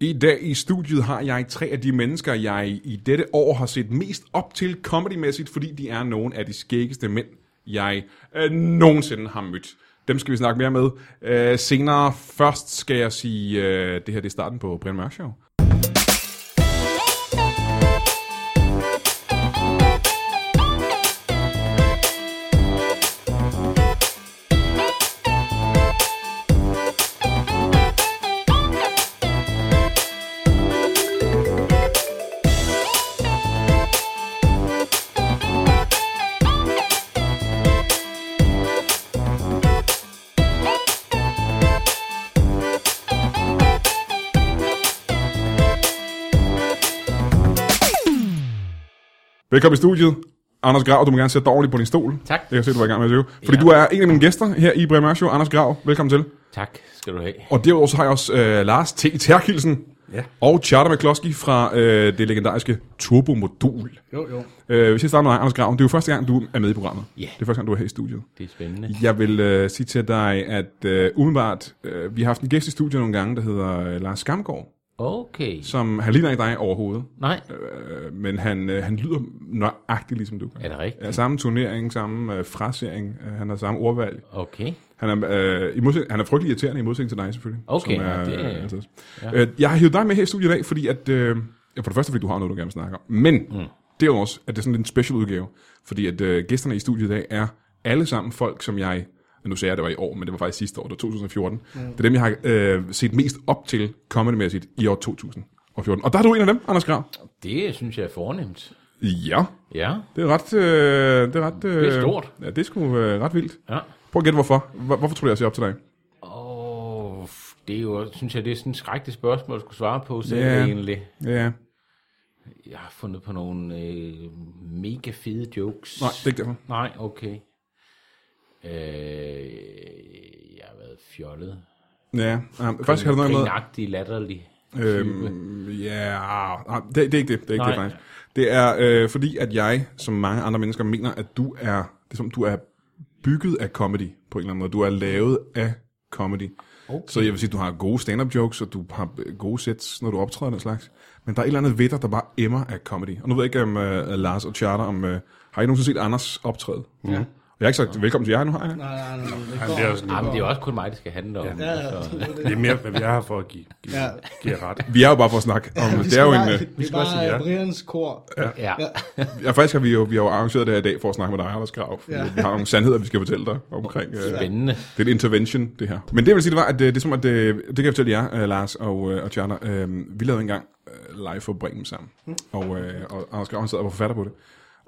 I dag i studiet har jeg tre af de mennesker, jeg i dette år har set mest op til comedymæssigt, fordi de er nogle af de skæggeste mænd, jeg øh, nogensinde har mødt. Dem skal vi snakke mere med øh, senere. Først skal jeg sige, øh, det her det er starten på Brian Mørk Show. Velkommen i studiet. Anders Grav, du må gerne sætte dig ordentligt på din stol. Tak. Det kan jeg se, du var i gang med at øve. Fordi ja. Ja. du er en af mine gæster her i Brian Mørk Show. Anders Grav, velkommen til. Tak skal du have. Og derudover så har jeg også øh, Lars T. Terkelsen Ja. og Charter McCloskey fra øh, det legendariske Turbo Modul. Jo, jo. Øh, hvis jeg starter med dig, Anders Grav, det er jo første gang, du er med i programmet. Ja. Det er første gang, du er her i studiet. Det er spændende. Jeg vil øh, sige til dig, at øh, umiddelbart, øh, vi har haft en gæst i studiet nogle gange, der hedder øh, Lars Skamgaard, Okay. som han ligner ikke dig overhovedet, Nej, øh, men han, øh, han lyder nøjagtigt ligesom du. er det rigtigt? Ja, samme turnering, samme øh, frasering, øh, han har samme ordvalg. Okay. Han er, øh, i modsæt, han er frygtelig irriterende i modsætning til dig selvfølgelig. Okay, som er, ja, det er- øh, altså. øh, jeg har hivet dig med her i studiet i dag, fordi at, øh, ja, for det første fordi du har noget, du gerne vil snakke om, men mm. det er jo også, at det er sådan en special udgave, fordi at øh, gæsterne i studiet i dag er alle sammen folk, som jeg, nu sagde jeg, at det var i år, men det var faktisk sidste år, det var 2014, mm. det er dem, jeg har øh, set mest op til comedymæssigt i år 2014. Og der er du en af dem, Anders Grav. Det synes jeg er fornemt. Ja, Ja. det er ret... Øh, det, er ret øh, Det er stort. Ja, det er sgu øh, ret vildt. ja. Prøv at gætte, hvorfor. Hvor, hvorfor tror du, jeg ser op til dig? Og det er jo, synes jeg, det er sådan et skrækkeligt spørgsmål at skulle svare på selv Ja. egentlig. Ja, Jeg har fundet på nogle øh, mega fede jokes. nej, det er ikke derfor. Nej, okay. Øh, jeg har været fjollet. Ja, um, faktisk har det noget med... Grinagtig, latterlig. Øhm, ja, nej, det, det er ikke det. Det er ikke Nej. det, faktisk. Det er øh, fordi, at jeg, som mange andre mennesker, mener, at du er, det er som, du er bygget af comedy på en eller anden måde. Du er lavet af comedy. Okay. Så jeg vil sige, at du har gode stand-up jokes, og du har øh, gode sets, når du optræder og den slags. Men der er et eller andet ved dig, der bare emmer af comedy. Og nu ved jeg ikke, om øh, Lars og Charter, om, øh, har I nogensinde set Anders optræde? Ja. Jeg har ikke sagt velkommen til jer nu, har jeg? Nej, nej, nej. nej, Jamen, det er også Ja, men det er jo også kun mig, det skal handle om. Ja, ja. Så, Det er mere, hvad vi er her for at give, give, Ja. ja. give ret. Vi er jo bare for at snakke om det. Det er jo en, øh, Vi skal skal også sige ja. Brians kor. Ja. ja. Ja, faktisk har vi jo, vi har jo arrangeret det her i dag for at snakke med dig, Anders Grav. Ja. Ja. Vi har nogle sandheder, vi skal fortælle dig omkring. Øh, det Spændende. er en intervention, det her. Men det jeg vil sige, det var, at øh, det er som, at øh, det kan jeg fortælle jer, øh, Lars og, øh, og Charter. Øh, vi lavede engang øh, live for Bremen sammen. Og, øh, og Anders Grav han sad og var forfatter på det.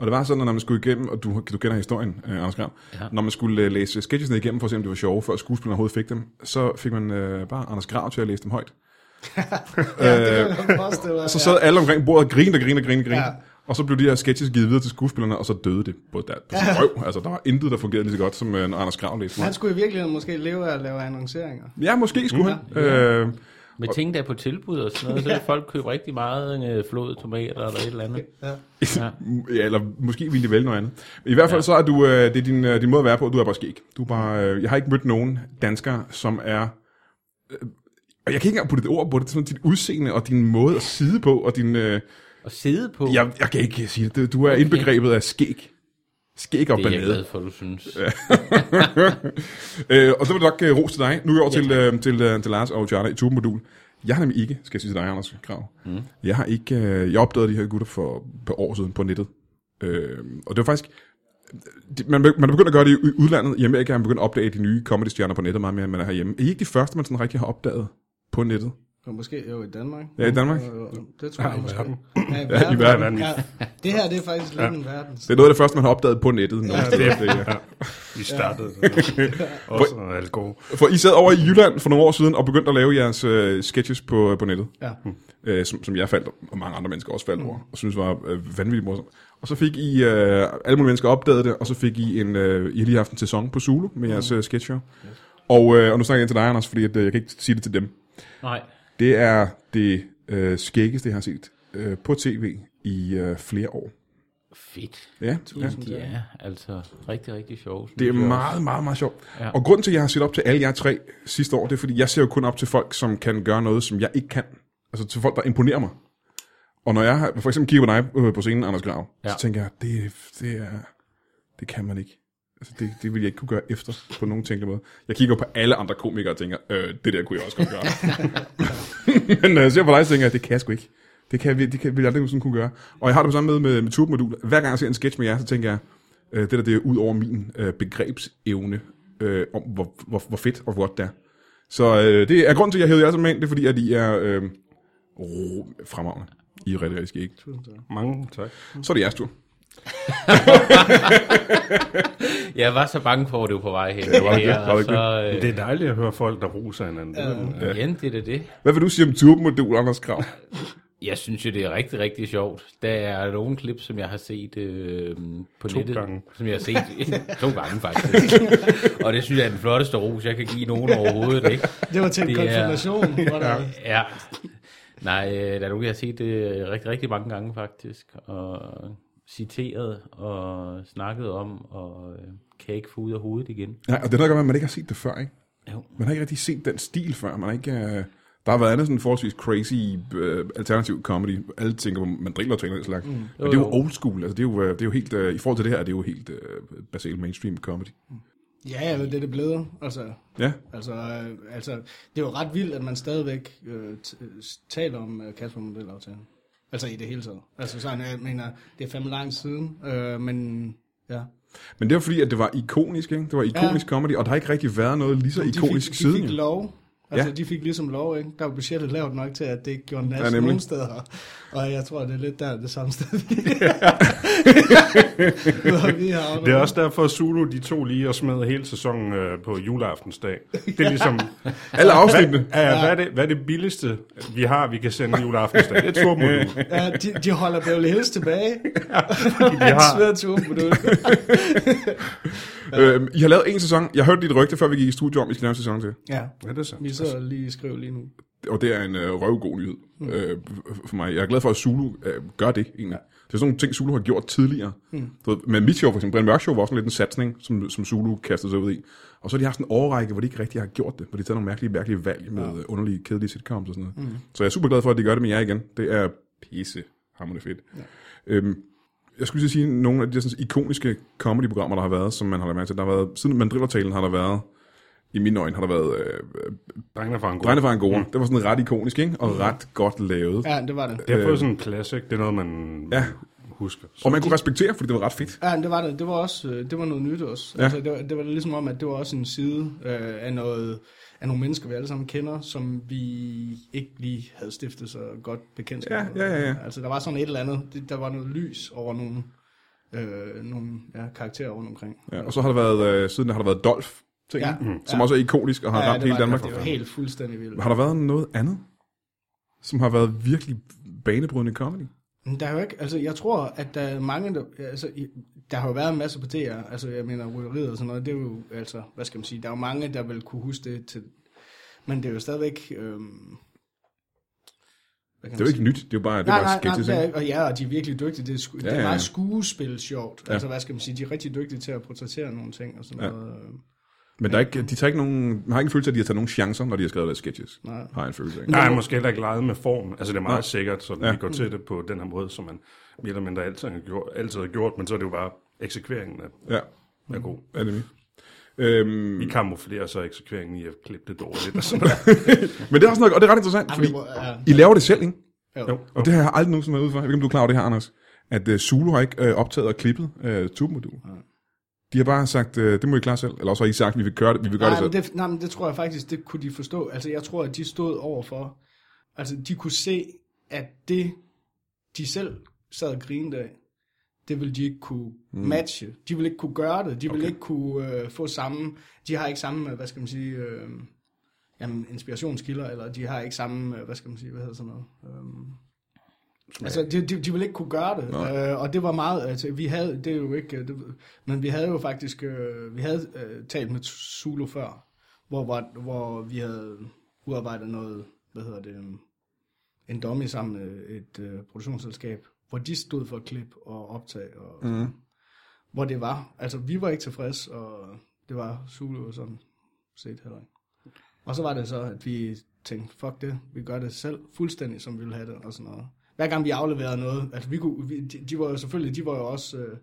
Og det var sådan, at når man skulle igennem, og du, du kender historien, øh, Anders Grav, ja. når man skulle øh, læse sketchesne igennem for at se, om det var sjove, før skuespillerne overhovedet fik dem, så fik man øh, bare Anders Grav til at læse dem højt. Øh, Og Så sad alle omkring bordet og grinede og grinede og grinede, grinede. Ja. Ja. Og så blev de her sketches givet videre til skuespillerne, og så døde det på der. På ja. røv. Altså, der var intet, der fungerede lige så godt, som øh, når Anders Grav læste. Han skulle i virkeligheden måske leve af at lave annonceringer. Ja, måske skulle mm, han. Ja. Øh, Med ting, der er på tilbud og sådan noget, så vil folk købe rigtig meget øh, flåede tomater eller et eller andet. Ja. ja, eller måske ville de vælge noget andet. I hvert fald ja. så er du, øh, det er din, øh, din måde at være på, du er bare skæg. Du er bare, øh, jeg har ikke mødt nogen dansker, som er... Øh, og jeg kan ikke engang putte et ord på det. Det er sådan dit udseende og din måde at sidde på, og din... Øh, Og sidde på, jeg, jeg kan ikke sige det. Du- Du er indbegrebet af skæg. Skæg og det er jeg ballade. glad for, du synes. Øh, og så vil jeg nok øh, ros til dig. Nu er jeg over til, øh, til, øh, til Lars og Charter i Turbomodul. Jeg har nemlig ikke, skal jeg sige til dig, Anders Krav. Mm. Jeg har ikke, øh, jeg opdagede de her gutter for et par år siden på nettet. Øh, og det var faktisk, de, man, be- man er begyndt at gøre det i u- udlandet. I Amerika har man begyndt at opdage de nye comedy-stjerner på nettet meget mere, end man er herhjemme. Er I ikke de første, man sådan rigtig har opdaget på nettet? Og måske jo i Danmark. Ja, i Danmark. Jo, jo, Det tror jeg i måske. verden. Ja, i i verden. Ja. Det her, det er faktisk lidt en verdens. Det er noget af det første, man har opdaget på nettet. Ja, det, det, ja. Vi startede ja. også noget alkohol. For I sad over i Jylland for nogle år siden og begyndte at lave jeres øh, sketches på, på nettet. Ja. Hmm. øh, som, som jeg faldt, og mange andre mennesker også faldt over, og synes var øh, vanvittigt morsomt. Og så fik I, øh, alle mulige mennesker opdagede det, og så fik I en, øh, I har lige haft en sæson på Zulu med jeres Hmm. øh, sketch show. Og, øh, og nu snakker jeg ind til dig, Anders, fordi at, øh, jeg kan ikke sige det til dem. Nej, Det er det øh, skæggeste, jeg har set øh, på tv i øh, flere år. fedt. Ja, ja. Tusind De tak. er altså rigtig, rigtig sjove. synes Det er jeg også. meget, meget, meget sjovt. Ja. Ja. Og grunden til, at jeg har set op til alle jer tre sidste år, det er, fordi jeg ser jo kun op til folk, som kan gøre noget, som jeg ikke kan. altså til folk, der imponerer mig. Og når jeg har- for eksempel kigger på dig øh, på scenen, Anders Grav, ja. Ja. så tænker jeg, det, det er, det kan man ikke. Altså, det, det vil jeg ikke kunne gøre efter på nogen tænkelig måde. Jeg kigger på alle andre komikere og tænker, øh, det der kunne jeg også godt gøre. Men når jeg ser på dig, så tænker jeg, det kan jeg sgu ikke. Det, kan, jeg vir- det kan, vil jeg aldrig sådan kunne gøre. Og jeg har det på samme måde med, med turbomoduler. Hver gang jeg ser en sketch med jer, så tænker jeg, øh, det der det er ud over min øh, begrebsevne, øh, om hvor, hvor, hvor fedt og hvor godt det er. Så øh, det er grunden til, at jeg hævde jer som mand, det er fordi, at I er øh, ro- fremragende. I er rigtig, rigtig skægge. Mange tak. Så er det jeres tur. Jeg var så bange for, at det var på vej hen. Det var det. her, Det var og det. så, Men øh, det er dejligt at høre folk, der roser hinanden. Det ved man. ja. igen, det er det. Hvad vil du sige om turbomoduler, Anders Krav? Jeg synes jo, det er rigtig, rigtig sjovt. Der er nogle klip, som jeg har set øh, på to nettet. gange. Som jeg har set to gange, faktisk. og det synes jeg er den flotteste ros, jeg kan give nogen overhovedet. Ikke? Det var til en Det er- konfirmation, hvor der Ja. Nej, øh, der er nogen, jeg har set det øh, rigtig, rigtig mange gange, faktisk. Og citeret og snakket om, og øh, kan ikke få ud af hovedet igen. Nej, og det er noget, at gøre med, at man ikke har set det før, ikke? Jo. Man har ikke rigtig set den stil før. Man har ikke, øh, der har været andet sådan forholdsvis crazy øh, alternativ comedy. Alle tænker på mandriller og den slags. Mm. Men det er jo Jo, jo. old school. Altså, det, er jo, øh, det er jo helt, øh, I forhold til det her, er det jo helt øh, basalt mainstream comedy. Ja, ja, det er det, det blevet. Altså, Ja, altså, øh, altså, det er jo ret vildt, at man stadigvæk øh, t- øh, taler om øh, Kasper Modelaftalen. Altså i det hele taget. Altså sådan, jeg mener, det er fandme langt siden, øh, men ja. men det var fordi, at det var ikonisk, ikke? Det var ikonisk ja. comedy, og der har ikke rigtig været noget lige så De ikonisk fik, siden. De fik jo. lov. Altså, Ja. ja. de fik ligesom lov, ikke? Der var budgettet lavt nok til, at det ikke gjorde nas Ja, ja, nemlig. nogen steder. Og jeg tror, det er lidt der det samme sted. Hvor vi har Det er også derfor, at Zulu de to lige og smed hele sæsonen øh, på juleaftensdag. Det er ligesom, Alle afsnittene. ja, ja, hvad, er det, hvad er det billigste, vi har, vi kan sende juleaftensdag? Det er et turmodul. Ja, de, de holder Beverly Hills tilbage. De Han har, sveder til åben modul. Øhm, I har lavet en sæson. Jeg hørte dit rygte, før vi gik i studiet om, I skal lave en sæson til. Ja, hvad er det så? vi sidder og lige skriver lige nu. Og det er en øh, røvgod nyhed øh, f- for mig. Jeg er glad for, at Zulu øh, gør det, egentlig. Det er sådan nogle ting, Zulu har gjort tidligere. Mm. Du ved, med mit show, for eksempel. Brian Mørk Show var også sådan lidt en satsning, som, som Zulu kastede sig ud i. Og så har de haft en årrække, hvor de ikke rigtig har gjort det. Hvor de har taget nogle mærkelige, mærkelige valg med ja. underlige, kedelige sitcoms og sådan noget. Mm. Så jeg er super glad for, at de gør det med jer igen. Det er pisse hammerende fedt. Ja. Øhm, jeg skulle lige sige, nogle af de der sådan, ikoniske comedy-programmer, der har været, som man har lagt mærke til. Der har været, siden Mandrillertalen har der været, i mine øjne har der været øh, Drengene fra Angola. Drengene fra Angora. Mm. Det var sådan ret ikonisk, ikke? Og ret godt lavet. Ja. Mm. Ja, det var det. Det har fået sådan en classic. Det er noget, man Øh. Ja. ja. husker. Og man kunne respektere, fordi det var ret fedt. Ja, det var det. Det var også øh, det var noget nyt også. Ja. Ja. Altså, det, var, det var ligesom om, at det var også en side øh, af noget af nogle mennesker, vi alle sammen kender, som vi ikke lige havde stiftet så godt bekendtskab. Ja, ja, ja, ja. Altså, der var sådan et eller andet. Det, der var noget lys over nogle, øh, nogle ja, karakterer rundt omkring. Ja, og så har der været, øh, siden der har der været Dolf, ting, ja. Ja. mm. Mm. som Ja. også er ikonisk og har ja, ramt det hele var, Danmark. Det var helt fuldstændig vildt. Har der været noget andet, som har været virkelig banebrydende comedy? Men Der er jo ikke, altså jeg tror, at der er mange, der, altså, i- der har jo været en masse på DR, altså jeg mener røveriet og sådan noget, det er jo, altså, hvad skal man sige, der er jo mange, der vil kunne huske det til, men det er jo stadigvæk, øhm, hvad kan Det er jo ikke nyt, det er jo bare, det Nej, var nej, nej, sketches, det er, ikke? ikke- og ja, og de er virkelig dygtige. Det er, sku, ja, Ja, det ja, er ja. meget skuespil sjovt. Ja. Ja. Altså, hvad skal man sige, de er rigtig dygtige til at portrættere nogle ting og sådan Ja. ja. noget. øh, Men der er ikke, de tager ikke nogen, man har ikke en følelse af, at de har taget nogen chancer, når de har skrevet deres sketches. Nej. Har jeg en følelse af. Nej, jeg har måske heller ikke leget med form. Altså, det er meget sikkert, så Ja. ja. vi går til det på den her måde, som man mere eller mindre altid har gjort, altid har gjort men så er det jo bare eksekveringen af, Ja, er Mm. god. er det mit? Øhm, Vi kamuflerer så eksekveringen i at klippe det dårligt. Og sådan noget. men det er også noget, og det er ret interessant, fordi vi må- ja. I laver det selv, ikke? Jo. Jo. Og det har jeg aldrig nogensinde været ude for. Jeg ved ikke, om du er klar over det her, Anders. At uh, Zulu har ikke uh, optaget og klippet uh, tubemodulet. De har bare sagt, uh, det må I klare selv. Eller også har I sagt, vi vil gøre det, vi vil gøre Nej, det men selv. det, nej, men det tror jeg faktisk, det kunne de forstå. Altså, jeg tror, at de stod overfor, altså, de kunne se, at det, de selv sad og grinede af, det ville de ikke kunne matche. De ville ikke kunne gøre det. De ville ikke kunne øh, få samme, de har ikke samme, øh, hvad skal man sige, øh, jamen, inspirationskilder, eller de har ikke samme, øh, hvad skal man sige, hvad hedder sådan noget, øh, Altså, de, de, de ville ikke kunne gøre det, øh, og det var meget, altså, vi havde, det er jo ikke, øh, det, men vi havde jo faktisk, øh, vi havde øh, talt med Zulu før, hvor, hvor, hvor vi havde udarbejdet noget, hvad hedder det, øhm, en dummy sammen med et øh, produktionsselskab, hvor de stod for at klippe og optage, og mm. hvor det var, altså, vi var ikke tilfredse, og det var Zulu og sådan set heller ikke. Og så var det så, at vi tænkte, fuck det, vi gør det selv, fuldstændig som vi vil have det, og sådan noget. Hver gang vi afleverede noget, altså vi kunne, vi, de, de var jo selvfølgelig, de var jo også, øh,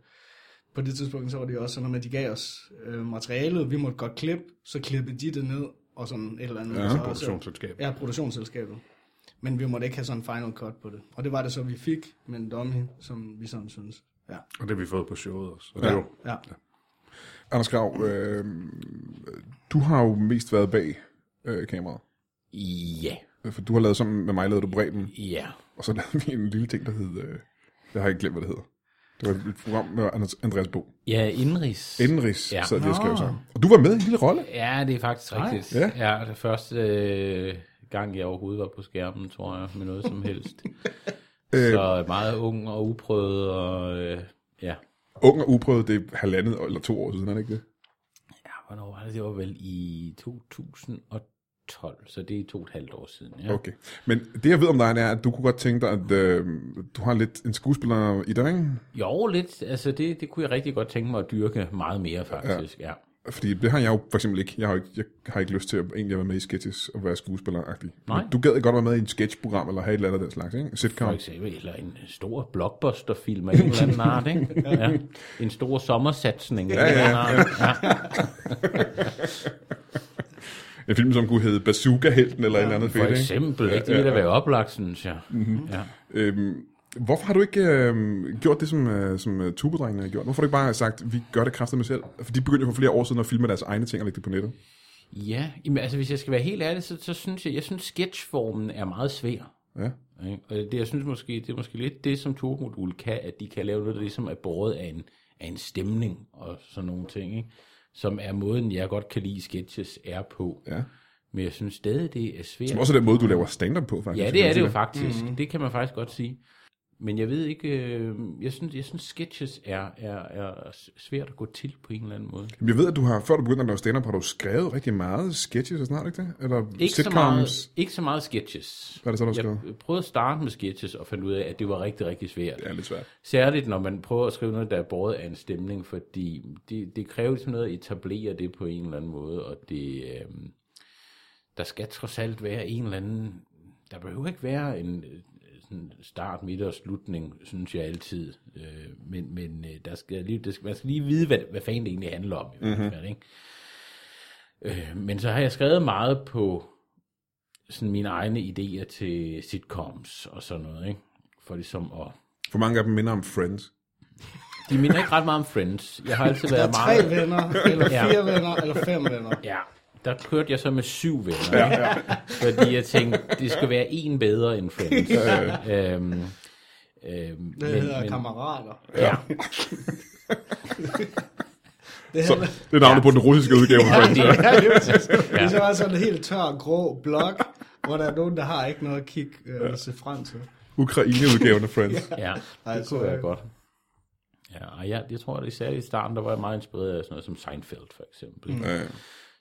på det tidspunkt, så var det jo også sådan noget med, at de gav os øh, materialet, vi måtte godt klippe, så klippede de det ned, og sådan et eller andet. Ja, så produktionsselskab. Ja, produktionsselskabet. Men vi måtte ikke have sådan en final cut på det. Og det var det så, vi fik med en dummy, som vi sådan synes. Ja, Og det har vi fået på showet også. Og det er jo, ja. Anders Grav, øh, du har jo mest været bag øh, kameraet. Øh, Ja, For du har lavet sammen med mig, lavede du Breben, ja. og så lavede vi en lille ting, der hed, øh, jeg har ikke glemt, hvad det hedder. Det var et program med Anders- Andreas Bo. Ja, indrigs. Indenrigs ja. Ja. sad vi og skrev Nå. sammen. Og du var med i en lille rolle. Ja, det er faktisk rigtigt. Ja. Ja. ja, det første øh, gang, jeg overhovedet var på skærmen, tror jeg, med noget som helst. Så meget ung og uprøvet, og øh, ja. Ung og uprøvet, det er halvandet eller to år siden, er det ikke det? ja, hvornår var det? Det var vel i 2012, så det er to og et halvt år siden. Ja. Okay. Men det, jeg ved om dig, det er, at du kunne godt tænke dig, at øh, du har lidt en skuespiller i dig, ikke? Jo, lidt. Altså, det, det kunne jeg rigtig godt tænke mig at dyrke meget mere, faktisk. Ja. ja. Fordi det har jeg jo for eksempel ikke. Jeg har, jo ikke, jeg har ikke lyst til at egentlig at være med i sketches og være skuespiller-agtig. Nej. Men Du gad godt være med i et sketchprogram eller have et eller andet af den slags, ikke? En For Sitcom. eksempel, eller en stor blockbusterfilm af en eller anden art, ikke? Ja. En stor sommersatsning af ja, en eller anden art. Ja. En film, som kunne hedde Bazooka-helten eller ja, et eller andet For fedt, ikke? eksempel, ikke? Mhm. Det ville da være oplagt, synes jeg. Ja. Øhm, hvorfor har du ikke øhm, gjort det, som, øh, som øh, tubedrengene har gjort? Hvorfor har du ikke bare sagt, vi gør det kraftigt med selv? For de begyndte jo for flere år siden at filme deres egne ting og lægge det på nettet. Ja, jamen, altså hvis jeg skal være helt ærlig, så, så synes jeg, jeg synes sketchformen er meget svær. Ja. Ikke? Og det, jeg synes måske, det er måske lidt det, som Tormodul kan, at de kan lave noget, der ligesom er båret af en, af en stemning og sådan nogle ting, ikke? som er måden, jeg godt kan lide sketches er på. Ja. Men jeg synes stadig, det er svært. Men også den måde, du laver stand-up på, faktisk. Altså, Ja, det er det jo faktisk. Mm-hmm. Det kan man faktisk godt sige. Men jeg ved ikke, øh, jeg synes, jeg synes sketches er, er, er svært at gå til på en eller anden måde. Jamen, Jeg ved, at du har, før du begyndte at lave stand-up, har du skrevet rigtig meget sketches og sådan noget, ikke det? Eller Ikke så, sitcoms. meget, ikke så meget sketches. Hvad er det så, du har jeg skrevet? prøvede at starte med sketches og fandt ud af, at det var rigtig, rigtig svært. Det er lidt svært. Særligt, når man prøver at skrive noget, der er båret af en stemning, fordi det, det kræver ligesom noget at etablere det på en eller anden måde, og det, øh, der skal trods alt være en eller anden, der behøver ikke være en øh, sådan start, midt og slutning, synes jeg altid, øh, men, men øh, der skal lige, der skal, man skal lige vide, hvad, hvad fanden det egentlig handler om, i hvert fald, ikke? Øh, men så har jeg skrevet meget på sådan mine egne idéer til sitcoms og sådan noget, ikke? For ligesom at For mange af dem minder om Friends. de minder ikke ret meget om Friends. Jeg har altid været Tre meget... venner, eller Ja. fire venner, eller fem venner. Ja, der kørte jeg så med syv venner. Ja, ja. Fordi jeg tænkte, det skal være en bedre end Friends. øhm, øhm, Det men- hedder men- kammerater. Ja, Det Så, hedder, det er navnet på den russiske udgave. af Friends. det, ja, det er ja. så bare sådan en helt tør, grå blok, hvor der er nogen, der har ikke noget at kigge øh, eller se frem til. Ukraine-udgaven af Friends. ja, Ej, det så kunne er være det- godt. Ja, og jeg, jeg tror, at især i starten, der var jeg meget inspireret af sådan noget som Seinfeld, for eksempel. Mm. Ja.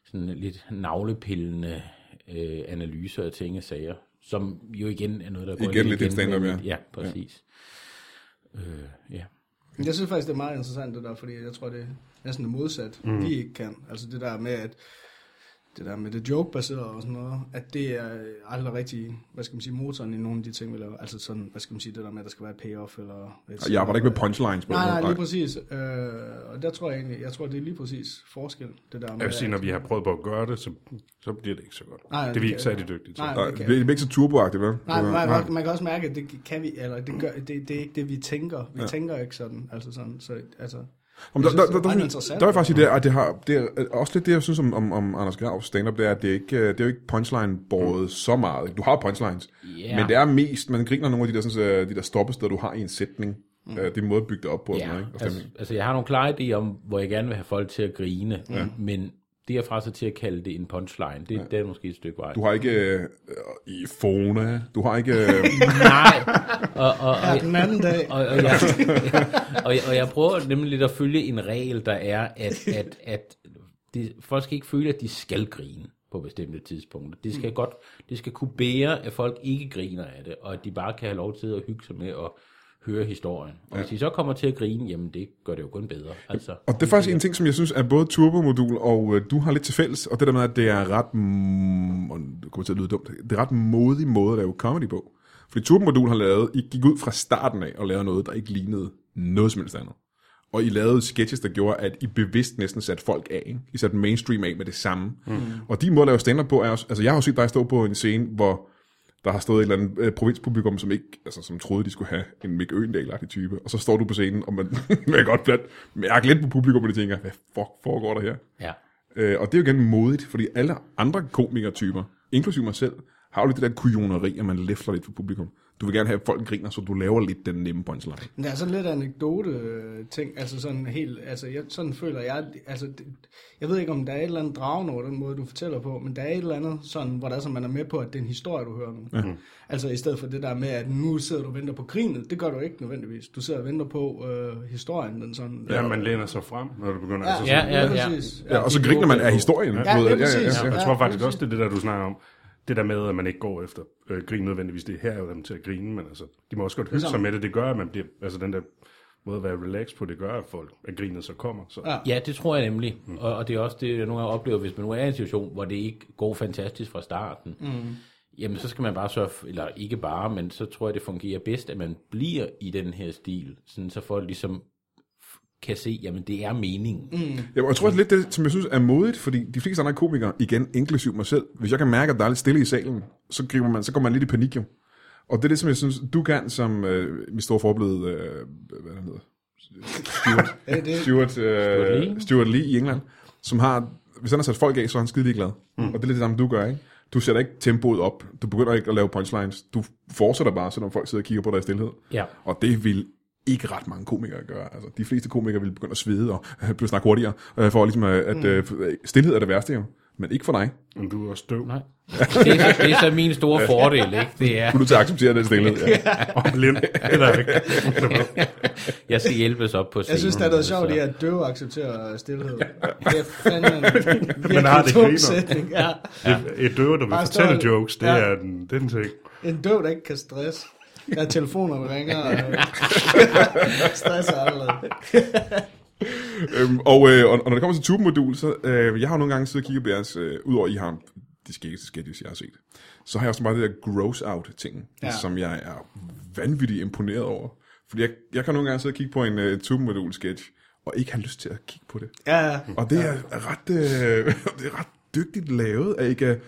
sådan lidt navlepillende øh, analyser af ting og sager, som jo igen er noget, der går Igen lidt et stand-up, ja. Ja, præcis. Ja. Øh, ja. Men Jeg synes faktisk, det er meget interessant det der, fordi jeg tror, det er næsten det modsat, mm. vi ikke kan. Altså det der med, at det der med det joke-baserede og sådan noget, at det er aldrig rigtig, hvad skal man sige, motoren i nogle af de ting, vi laver. Altså sådan, hvad skal man sige, det der med, at der skal være et payoff eller... Og Jeg arbejder ikke med punchlines på den Nej, nej, måde. lige præcis. Øh, og der tror jeg egentlig, jeg tror, det er lige præcis forskel, det der med... Jeg vil sige, at- når vi har prøvet på at gøre det, så, så bliver det ikke så godt. Nej, det er vi det- ikke særlig dygtige til. Nej. Nej, det er ikke så turboagtigt, vel? Nej, Du- man, man, man kan også mærke, at det kan vi, eller det, gør, det, det er ikke det, vi tænker. Vi ja. tænker ikke sådan, altså sådan, så altså... Om der, Jeg der, der, synes, det er der, meget der, interessant. der, er faktisk i det, at det har, det er øh, også lidt det, jeg synes om, om, om Anders Gravs stand-up, det er, at det er ikke, øh, det er jo ikke punchline-båret mm. så meget. ikke? Du har punchlines, Ja. men det er mest, man griner nogle af de der, sådan, øh, de der stoppesteder, du har i en sætning. Mm. Det er en måde at bygge det op på. og sådan, noget, ja. ikke? Og Altså, stemning. altså, jeg har nogle klare idéer om, hvor jeg gerne vil have folk til at grine, ja. men derfra så til at kalde det en punchline, det, ja. det er måske et stykke vej. Du har ikke øh, i Fona, du har ikke... Øh, Nej, og, og, og, Ja, den anden dag, og, og, jeg, og, jeg, og jeg prøver nemlig lidt at følge en regel, der er, at, at, at det, folk skal ikke føle, at de skal grine på bestemte tidspunkter. Det skal godt, det skal kunne bære, at folk ikke griner af det, og at de bare kan have lov til at hygge sig med at høre historien. Og hvis I så kommer til at grine, jamen det gør det jo kun bedre. Altså, Og det er faktisk en ting, som jeg synes, at både Turbomodul og øh, du har lidt til fælles, og det der med, at det er ret, mm, og det kommer til at lyde dumt, det er ret modig måde at lave comedy på. Fordi Turbomodul har lavet, I gik ud fra starten af og lavede noget, der ikke lignede noget som helst andet. Og I lavede sketches, der gjorde, at I bevidst næsten satte folk af. Ikke? I satte mainstream af med det samme. Mm. Og de måder at lave stand på er også, altså jeg har jo set dig stå på en scene, hvor der har stået et eller andet øh, provinspublikum, som ikke, altså, som troede, de skulle have en Mick Øgendal-agtig type. Og så står du på scenen, og man, man kan godt blandt mærke lidt på publikum, og de tænker, hvad fuck foregår der her? ja. Øh, og det er jo igen modigt, fordi alle andre komikertyper, inklusive mig selv, har jo lidt det der kujoneri, at man læfler lidt for publikum. Du vil gerne have, at folk griner, så du laver lidt den nemme punchline. Men der er sådan lidt anekdote øh, ting, altså sådan helt, altså jeg, sådan føler jeg, altså det, jeg ved ikke om der er et eller andet dragende over den måde, du fortæller på, men der er et eller andet sådan, hvor der er sådan, man er med på, at det er en historie, du hører nu. Mm. Mm-hmm. Altså i stedet for det der med, at nu sidder du og venter på grinet, det gør du ikke nødvendigvis. Du sidder og venter på øh, historien, den sådan. Ja, man læner sig frem, når du begynder. ja, altså, ja, sådan- ja, ja, præcis. Ja, og så griner man af historien. Ja, du ved, ja, præcis. Jeg Ja, tror faktisk præcis. også, det er det der, du snakker om. Det der med, at man ikke går efter øh, grin nødvendigvis, det her er jo dem til at grine, men altså, de må også godt Ligesom- hygge sig med det. Det gør, at man bliver, altså den der måde at være relax på, det gør, at folk, at grinet så kommer. Så. Ja. Ja, det tror jeg nemlig. Mm. Og, og det er også det, jeg nogle gange oplever, hvis man nu er i en situation, hvor det ikke går fantastisk fra starten. Mm. Jamen, så skal man bare sørge, for- eller ikke bare, men så tror jeg, det fungerer bedst, at man bliver i den her stil, sådan så folk ligesom f- kan se, jamen det er meningen. Mm. Ja, og jeg tror også lidt det, som jeg synes er modigt, fordi de fleste andre komikere, igen inklusiv mig selv, hvis jeg kan mærke, at der er lidt stille i salen, så, griber man, så går man lidt i panik jo. Og det er det, som jeg synes, du kan, som øh, min store forbillede, øh, hvad er det, han hedder? Stuart, Ja, det, Stuart, øh, Lee. Stuart Lee i England, som har, hvis han har sat folk af, så er han skide glad. Mm. Og det er lidt det samme, du gør, ikke? Du sætter ikke tempoet op, du begynder ikke at lave punchlines, du fortsætter bare, selvom folk sidder og kigger på dig i stillhed. Ja. Og det vil ikke ret mange komikere gøre. Altså, de fleste komikere vil begynde at svede og øh, blive snakke hurtigere, øh, for ligesom, øh, at øh, stillhed er det værste jo. Men ikke for dig. Men du er også døv Nej. Det, er, det er så min store fordel, ikke? Det er, Du er nødt til at acceptere den stillhed. Ja. og blind. Det er rigtigt. jeg skal hjælpes op på scenen. jeg synes, det er altså, noget så- sjovt i, at døve accepterer stillhed. Det er fandme en har det virkelig tung griner. sætning. Ja. Et, et døver, der vil Bare stå- fortælle jokes, det Ja. er den, det er den ting. En døv, der ikke kan stress. Der er telefoner, der ringer. og- Stresser allerede. øhm, og, øh, og, og når det kommer til tubemodul, så øh, jeg har jo nogle gange siddet og kigget på jeres, øh, udover I har de skæggeste sketches, jeg har set, så har jeg også meget det der gross out ting, ja. Ja. som jeg er vanvittigt imponeret over. Fordi jeg, jeg kan nogle gange sidde og kigge på en øh, tubemodul sketch, og ikke have lyst til at kigge på det. Ja, ja. Og det er, er ret, øh, det er ret dygtigt lavet, at I kan